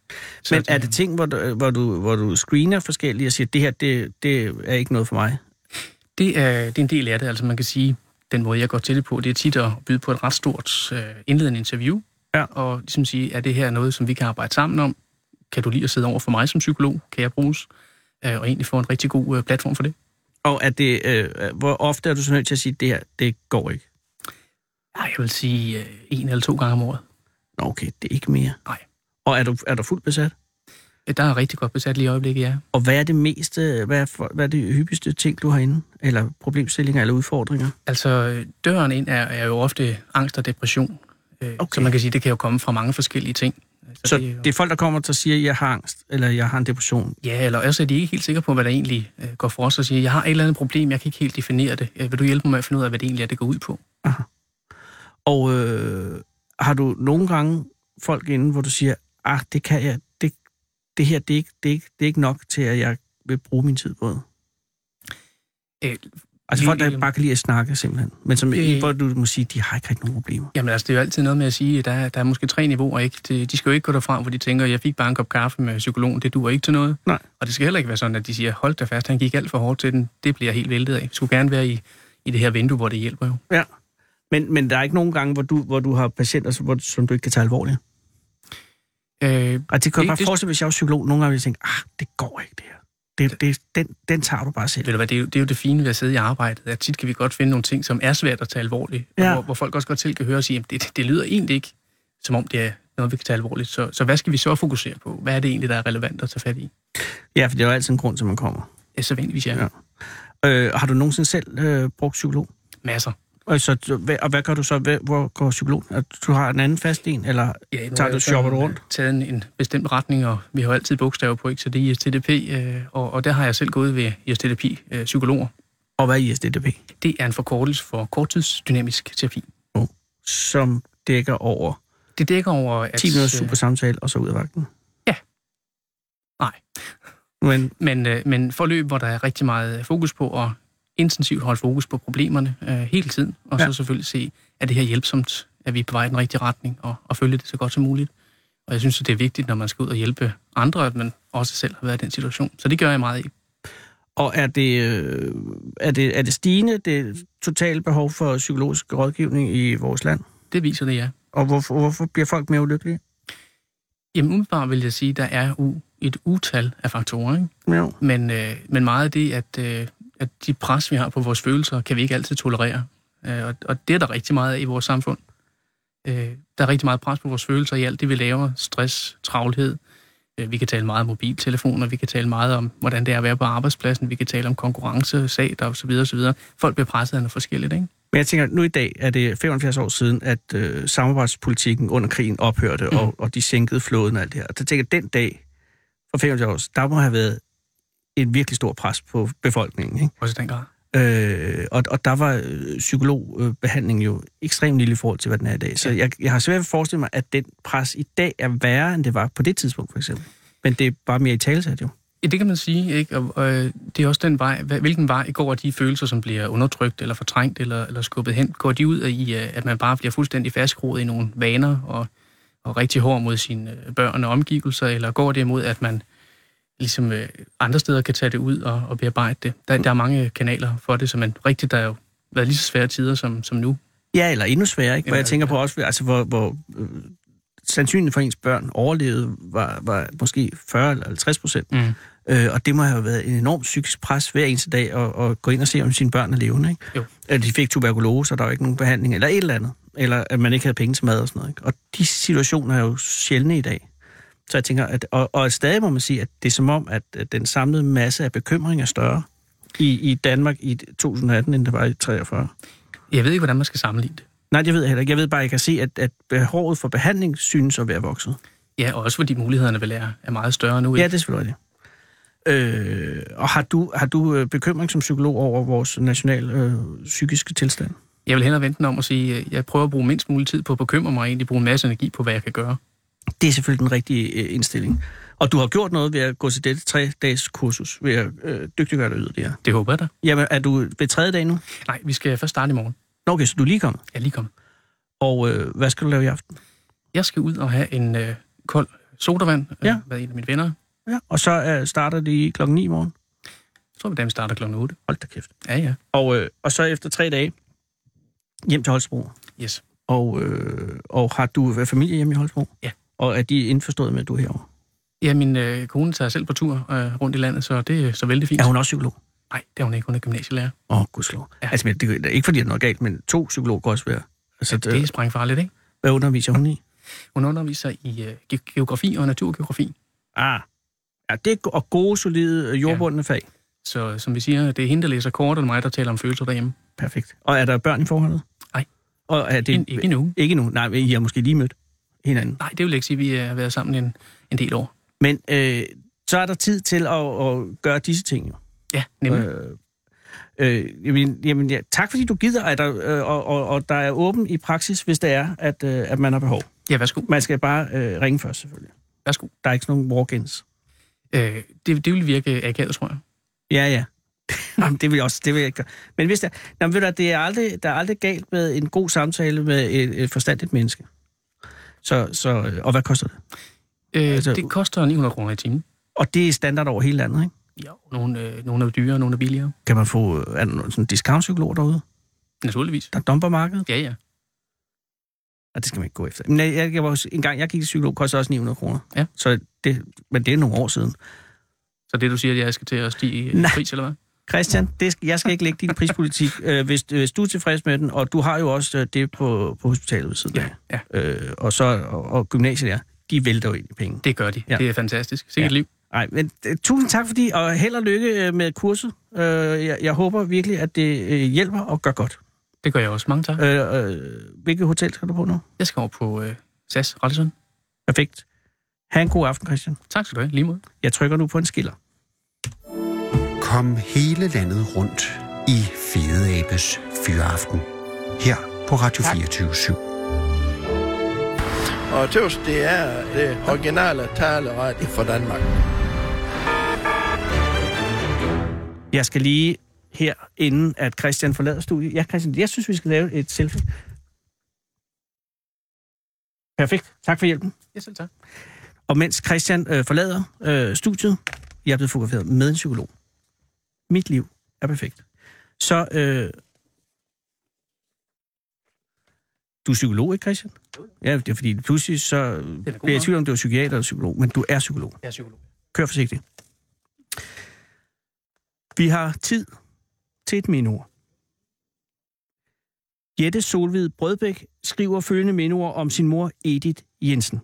S8: Så
S4: Men er
S8: at,
S4: det
S8: øh,
S4: ting, hvor du, hvor du, hvor du screener forskellige og siger, det her det, det er ikke noget for mig?
S8: det, er, det er en del af det, altså man kan sige, den måde, jeg går til det på, det er tit at byde på et ret stort øh, indledende interview,
S4: Ja.
S8: og ligesom sige, er det her noget, som vi kan arbejde sammen om? Kan du lide at sidde over for mig som psykolog? Kan jeg bruges? Øh, og egentlig få en rigtig god øh, platform for det.
S4: Og er det, øh, hvor ofte er du så nødt til at sige, det her det går ikke?
S8: Ja, jeg vil sige øh, en eller to gange om året.
S4: Nå okay, det er ikke mere.
S8: Nej.
S4: Og er du, er du fuldt besat?
S8: Øh, Der er rigtig godt besat lige i øjeblikket, ja.
S4: Og hvad er det meste, hvad er, for, hvad er det hyppigste ting, du har inde? Eller problemstillinger eller udfordringer?
S8: Altså, øh, døren ind er, er jo ofte angst og depression. Øh,
S4: Okay.
S8: Så man kan sige, det kan jo komme fra mange forskellige ting. Så,
S4: Så
S8: det, er jo-
S4: det er folk, der kommer til at sige, at jeg har angst, eller jeg har en depression.
S8: Ja, eller også er de ikke helt sikre på, hvad der egentlig øh, går for os og siger, jeg har et eller andet problem, jeg kan ikke helt definere det. Øh, vil du hjælpe mig med at finde ud af, hvad det egentlig er, det går ud på?
S4: Og øh, har du nogle gange folk inde, hvor du siger, ah, det kan jeg, det, det her, det er, ikke, det, er ikke, det er ikke nok til, at jeg vil bruge min tid på det.
S8: Øh,
S4: Altså folk, der
S8: Lige-
S4: bare kan lide at snakke simpelthen. Men som,
S8: Øh.
S4: hvor du må sige, de har ikke rigtig nogen problemer.
S8: Jamen altså, det er jo altid noget med at sige, at der, er- der er måske tre niveauer, ikke? De, de skal jo ikke gå derfra, hvor de tænker, jeg fik bare en kop kaffe med psykologen, det duer ikke til noget.
S4: Nej.
S8: Og det skal heller ikke være sådan, at de siger, hold da fast, han gik alt for hårdt til den, det bliver jeg helt væltet af. Vi skulle gerne være i, i det her vindue, hvor det hjælper jo.
S4: Ja. Men, men der er ikke nogen gange, hvor du, hvor du har patienter, som, hvor, som du ikke kan tage alvorligt.
S8: Øh,
S4: Og det kan jeg
S8: Det-
S4: bare
S8: det-
S4: forestille mig, hvis jeg var psykolog, nogle gange ville jeg tænke, ah, det går ikke det her. Det, det, den, den tager du bare selv.
S8: ved du hvad, det er, jo, det er jo det fine ved at sidde i arbejdet, at tit kan vi godt finde nogle ting, som er svært at tage alvorligt, og
S4: Ja.
S8: hvor, hvor folk også godt selv kan høre og sige, at det, det lyder egentlig ikke, som om det er noget, vi kan tage alvorligt. Så, så hvad skal vi så fokusere på? Hvad er det egentlig, der er relevant at tage fat i?
S4: Ja, for det er jo altid en grund til, at man kommer.
S8: Ja, så vanligvis ja.
S4: Ja.
S8: ja.
S4: Øh, har du nogensinde selv øh, brugt psykolog?
S8: Masser.
S4: Og, så, du- hvad, og hvad gør du så? Hvad, hvor går psykologen? At du har en anden fast en, eller
S8: Ja, nu har
S4: tager
S8: jeg
S4: du,
S8: jo
S4: shopper du
S8: sådan,
S4: rundt?
S8: øh, taget en, en bestemt retning, og vi har jo altid bogstaver på, ikke? så det er ISTDP, øh, og, og der har jeg selv gået ved ISTDP øh, psykologer.
S4: Og hvad er ISDDP?
S8: Det er en forkortelse for korttidsdynamisk terapi.
S4: Som dækker over
S8: Det dækker over, at...
S4: 10 minutter
S8: øh,
S4: super samtale, og så ud af vagten.
S8: Ja. Nej.
S4: Men
S8: Men, øh, men forløb, hvor der er rigtig meget fokus på at intensivt holde fokus på problemerne øh, hele tiden, og ja.
S4: Ja.
S8: så selvfølgelig se, er det her hjælpsomt? Er vi på vej i den rigtige retning? Og, og følge det så godt som muligt. Og jeg synes, at det er vigtigt, når man skal ud og hjælpe andre, at man også selv har været i den situation. Så det gør jeg meget i.
S4: Og er det, øh, er det, er det stigende, det totale behov for psykologisk rådgivning i vores land?
S8: Det viser det, ja.
S4: Og hvorfor, hvorfor bliver folk mere ulykkelige?
S8: Jamen umiddelbart vil jeg sige, at der er u- et utal af faktorer, ikke?
S4: Jo.
S8: Men, øh, men meget af det, at, øh, at de pres, vi har på vores følelser, kan vi ikke altid tolerere. Øh, og, og det er der rigtig meget af i vores samfund. Øh, der er rigtig meget pres på vores følelser i alt det, vi laver. Stress, travlhed. Øh, vi kan tale meget om mobiltelefoner, vi kan tale meget om, hvordan det er at være på arbejdspladsen, vi kan tale om konkurrence, sag, der osv. osv. Folk bliver presset af noget forskelligt, ikke?
S4: Men jeg tænker, nu i dag er det 75 år siden, at øh, samarbejdspolitikken under krigen ophørte, mm. og, og de sænkede flåden og alt det her. Og så tænker jeg, den dag for 75 år, siden, der må have været et virkelig stort pres på befolkningen. Ikke?
S8: Også i den grad.
S4: Øh, og, og der var øh, psykologbehandling jo ekstremt lille i forhold til, hvad den er i dag. Så jeg, jeg har svært ved at forestille mig, at den pres i dag er værre, end det var på det tidspunkt, for eksempel. Men det er bare mere i talesat jo.
S8: Ja, det kan man sige, ikke? Og, og øh, det er også den vej, hva- hvilken vej går de følelser, som bliver undertrykt eller fortrængt eller, eller skubbet hen, går de ud af i, øh, at man bare bliver fuldstændig fastgroet i nogle vaner og, og rigtig hård mod sine øh, børn og omgivelser, eller går det imod, at man ligesom øh, andre steder kan tage det ud og, og bearbejde det? Der, der er mange kanaler for det, så man rigtigt, der har jo været lige så svære tider som, som nu.
S4: Ja, eller endnu sværere, ikke? Hvor
S8: Ja,
S4: jeg tænker på også, altså, hvor, hvor øh, sandsynligheden for ens børn overlevede var, var måske 40 eller 50 procent.
S8: Mm.
S4: Øh, og det må have været en enorm psykisk pres hver eneste dag at, at gå ind og se, om sine børn er levende. Ikke?
S8: Jo.
S4: At de fik tuberkulose, og der var ikke nogen behandling, eller et eller andet. Eller at man ikke havde penge til mad og sådan noget. Ikke? Og de situationer er jo sjældne i dag. Så jeg tænker, at, og, og stadig må man sige, at det er som om, at, at den samlede masse af bekymring er større i, i Danmark i 2018, end det var i 43.
S8: Jeg ved ikke, hvordan man skal sammenligne det.
S4: Nej, det ved jeg heller ikke. Jeg ved bare, at jeg kan se, at, at behovet for behandling synes at være vokset.
S8: Ja, og også fordi mulighederne vel er, er meget større nu.
S4: Ja,
S8: ikke?
S4: det er selvfølgelig det. Øh, og har du, har du øh, bekymring som psykolog over vores national øh, psykiske tilstand?
S8: Jeg vil hellere vente den om at sige, at jeg prøver at bruge mindst mulig tid på at bekymre mig, og egentlig bruge en masse energi på, hvad jeg kan gøre.
S4: Det er selvfølgelig den rigtige øh, indstilling. Og du har gjort noget ved at gå til dette tre-dages kursus, ved at øh, dygtiggøre dig yderligere.
S8: Det håber jeg da.
S4: Jamen, er du ved tredje dag nu?
S8: Nej, vi skal først starte i morgen.
S4: Nå, okay, så du er lige kommet.
S8: Jeg er lige kommet.
S4: Og øh, hvad skal du lave i aften?
S8: Jeg skal ud og have en øh, kold sodavand øh,
S4: Ja.
S8: ja. med en af mine venner. Jeg
S4: Ja. Og så øh, starter de klokken 9 i morgen.
S8: tror, at dagen starter kl. 8.
S4: Hold da kæft.
S8: Ja, ja.
S4: Og, øh, og så efter tre dage, hjem til Holstebro.
S8: Yes.
S4: Og, øh, og har du familie hjemme i Holstebro?
S8: Ja.
S4: Og er de indforstået med, at du er herovre?
S8: Ja, min øh, kone tager selv på tur øh, rundt i landet, så det er så vældig fint.
S4: Er hun også psykolog?
S8: Nej, det er hun ikke. Hun er gymnasielærer.
S4: Åh, oh, gudslov. Ja. Altså, men det, det er ikke fordi, der er noget galt, men to psykologer kan også være. Altså,
S8: Så
S4: ja,
S8: det er
S4: det...
S8: sprængfarligt, ikke?
S4: hvad underviser hun i?
S8: Hun underviser i øh, ge- geografi og naturgeografi.
S4: Ah, ja, det er go- og gode, solide, øh, jordbundne ja. fag.
S8: Så øh, som vi siger, det er hende, der læser kort, og det er mig, der taler om følelser derhjemme.
S4: Perfekt. Og er der børn i forholdet?
S8: Nej.
S4: Og er det...
S8: Det... Ikke nu.
S4: Ikke nu. Nej, men I har måske lige mødt hinanden.
S8: Nej, det vil jeg ikke sige, at vi øh, har været sammen en, en del år.
S4: Men øh, så er der tid til at, at gøre disse ting, jo.
S8: Ja, nemlig.
S4: Øh, øh, jamen, jamen, ja, tak fordi du gider, at der, øh, og, og, og der er åben i praksis, hvis det er, at, øh, at man har behov.
S8: Ja, værsgo.
S4: Man skal bare øh, ringe først, selvfølgelig.
S8: Værsgo.
S4: Der er ikke sådan nogen walk-ins.
S8: Øh, det, det vil virke akavet, tror jeg.
S4: Ja, ja. Jamen, det vil jeg også, det vil jeg ikke gøre. Men hvis der, jamen, ved du, hvad, det er aldrig, der er aldrig galt med en god samtale med et, et forstandigt menneske. Så, så, øh, og hvad koster det?
S8: Øh,
S4: Altså-
S8: altså, det koster 900 kroner i timen.
S4: Og det er standard over hele landet, ikke?
S8: Ja, nogle, øh, nogle er dyrere, nogle er billigere.
S4: Kan man få øh, er der nogen sådan discountpsykologer derude,
S8: Naturligvis.
S4: der dumper markedet?
S8: Ja, ja.
S4: Og det skal man ikke gå efter. Men øh, jeg, jeg, jeg var, også- en gang jeg gik til psykolog, kostede også 900 kroner.
S8: Ja.
S4: Så det, men det er nogle år siden.
S8: Så det, du siger, at jeg skal til at stige i
S4: Nej.
S8: pris, eller hvad?
S4: Christian, det, skal- jeg skal ikke lægge din prispolitik, øh, hvis, hvis du er tilfreds med den, og du har jo også øh, det på, på hospitalet ved siden af.
S8: ja.
S4: Øh, og, så, og, og gymnasiet der, de vælter jo ind i penge.
S8: Det gør de.
S4: Ja.
S8: Ja. Det er fantastisk. Sikkert
S4: Ja.
S8: ja. liv.
S4: Nej, men øh, tusind tak fordi, og held og lykke øh, med kurset. Øh, jeg, jeg håber virkelig, at det øh, hjælper og gør godt.
S8: Det gør jeg også. Mange tak. Ja.
S4: Øh, øh, hvilket hotel skal du på nu?
S8: Jeg skal over på øh, SAS Rottesund.
S4: Perfekt. Ha' en god aften, Christian.
S8: Tak skal du have. Lige måde.
S4: Jeg trykker nu på en skiller.
S3: Kom hele landet rundt i Fede Abes Fyraften. Her på Radio 24
S9: Og tøvs, det er det originale taleradio for Danmark.
S4: Jeg skal lige her, inden at Christian forlader studiet. Ja, Christian, jeg synes, vi skal lave et selfie. Perfekt. Tak for hjælpen.
S8: Ja, selv tak.
S4: Og mens Christian øh, forlader øh, studiet, jeg er blevet fotograferet med en psykolog. Mit liv er perfekt. Så, øh, du er psykolog, ikke Christian? Ja, det er fordi pludselig så øh,
S8: da god
S4: bliver jeg i
S8: nok.
S4: tvivl om, du er psykiater eller psykolog, men du er psykolog.
S8: Jeg er psykolog.
S4: Kør forsigtigt. Vi har tid til et minord. Jette Solvid Brødbæk skriver følgende minord om sin mor Edith Jensen,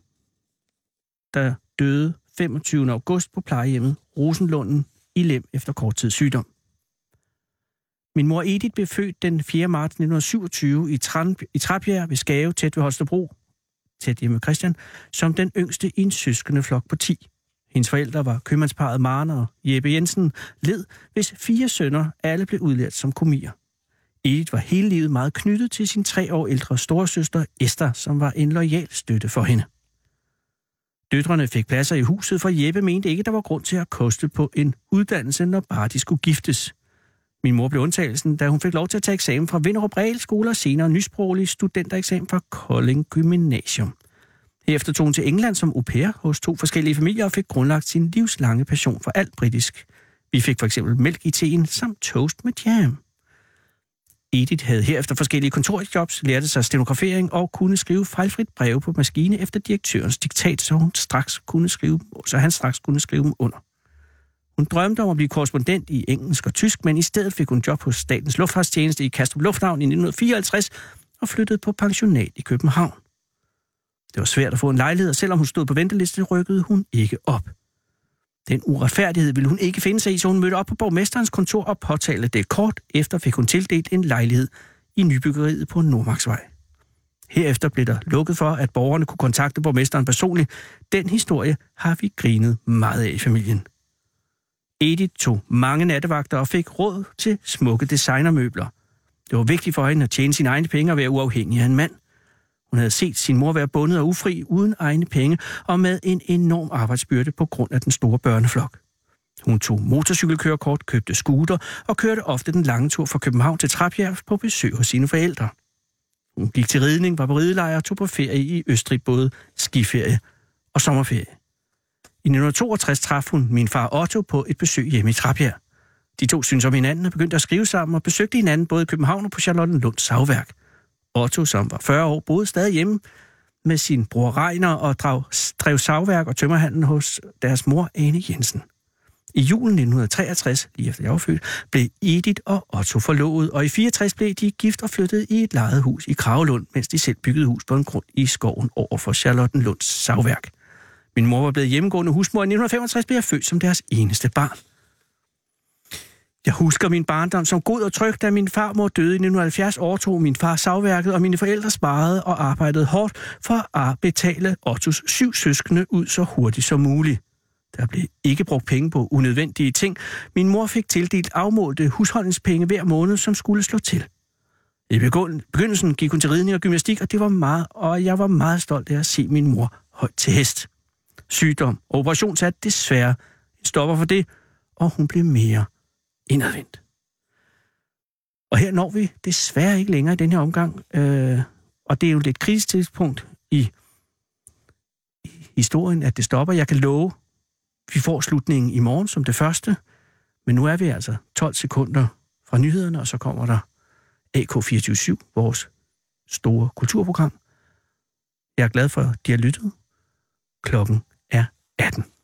S4: der døde 25. august på plejehjemmet Rosenlunden i Lem efter kort tid sygdom. Min mor Edith blev født den 4. marts 1927 i, Tran- i Trapjær ved Skave, tæt ved Holstebro, tæt hjemme ved Christian, som den yngste i en søskende flok på 10. Hendes forældre var købmandsparet Marne og Jeppe Jensen led, hvis fire sønner alle blev udlært som komier. Edith var hele livet meget knyttet til sin tre år ældre storesøster Esther, som var en lojal støtte for hende. Døtrene fik pladser i huset, for Jeppe mente ikke, der var grund til at koste på en uddannelse, når bare de skulle giftes. Min mor blev undtagelsen, da hun fik lov til at tage eksamen fra Vinderup Realskole og senere nysproglig studentereksamen fra Kolding Gymnasium. Herefter tog hun til England som au pair hos to forskellige familier og fik grundlagt sin livslange passion for alt britisk. Vi fik for eksempel mælk i teen samt toast med jam. Edith havde herefter forskellige kontorjobs, lærte sig stenografering og kunne skrive fejlfrit breve på maskine efter direktørens diktat, så, hun straks kunne skrive, så han straks kunne skrive dem under. Hun drømte om at blive korrespondent i engelsk og tysk, men i stedet fik hun job hos Statens Luftfartstjeneste i Kastrup Lufthavn i 1954 og flyttede på pensionat i København. Det var svært at få en lejlighed, og selvom hun stod på venteliste, rykkede hun ikke op. Den uretfærdighed ville hun ikke finde sig i, så hun mødte op på borgmesterens kontor og påtalte det kort. Efter fik hun tildelt en lejlighed i nybyggeriet på Nordmarksvej. Herefter blev der lukket for, at borgerne kunne kontakte borgmesteren personligt. Den historie har vi grinet meget af i familien. Edith tog mange nattevagter og fik råd til smukke designermøbler. Det var vigtigt for hende at tjene sine egne penge og være uafhængig af en mand. Hun havde set sin mor være bundet og ufri uden egne penge og med en enorm arbejdsbyrde på grund af den store børneflok. Hun tog motorcykelkørekort, købte scooter og kørte ofte den lange tur fra København til Trapjær på besøg hos sine forældre. Hun gik til ridning, var på ridelejr og tog på ferie i Østrig, både skiferie og sommerferie. I 1962 traf hun min far Otto på et besøg hjemme i Trapjær. De to syntes om hinanden og begyndte at skrive sammen og besøgte hinanden både i København og på Charlottenlunds savværk. Otto, som var 40 år, boede stadig hjemme med sin bror Reiner og drev, drev savværk og tømmerhandel hos deres mor Ane Jensen. I julen 1963, lige efter jeg var født, blev Edith og Otto forlovet, og i 64 blev de gift og flyttede i et lejet hus i Kravlund, mens de selv byggede hus på en grund i skoven over for Charlottenlunds savværk. Min mor var blevet hjemmegående husmor, og i 1965 blev jeg født som deres eneste barn. Jeg husker min barndom som god og tryg, da min farmor døde i 1970, overtog min far savværket, og mine forældre sparede og arbejdede hårdt for at betale Ottos syv søskende ud så hurtigt som muligt. Der blev ikke brugt penge på unødvendige ting. Min mor fik tildelt afmålte husholdningspenge hver måned, som skulle slå til. I begyn- begyndelsen gik hun til ridning og gymnastik, og det var meget, og jeg var meget stolt af at se min mor højt til hest. Sygdom og operationsat desværre en stopper for det, og hun blev mere indadvendt. Og her når vi desværre ikke længere i den her omgang, øh, og det er jo et lidt kritisk tidspunkt i, i historien, at det stopper. Jeg kan love, vi får slutningen i morgen som det første, men nu er vi altså 12 sekunder fra nyhederne, og så kommer der AK247, vores store kulturprogram. Jeg er glad for, at de har lyttet. Klokken er 18.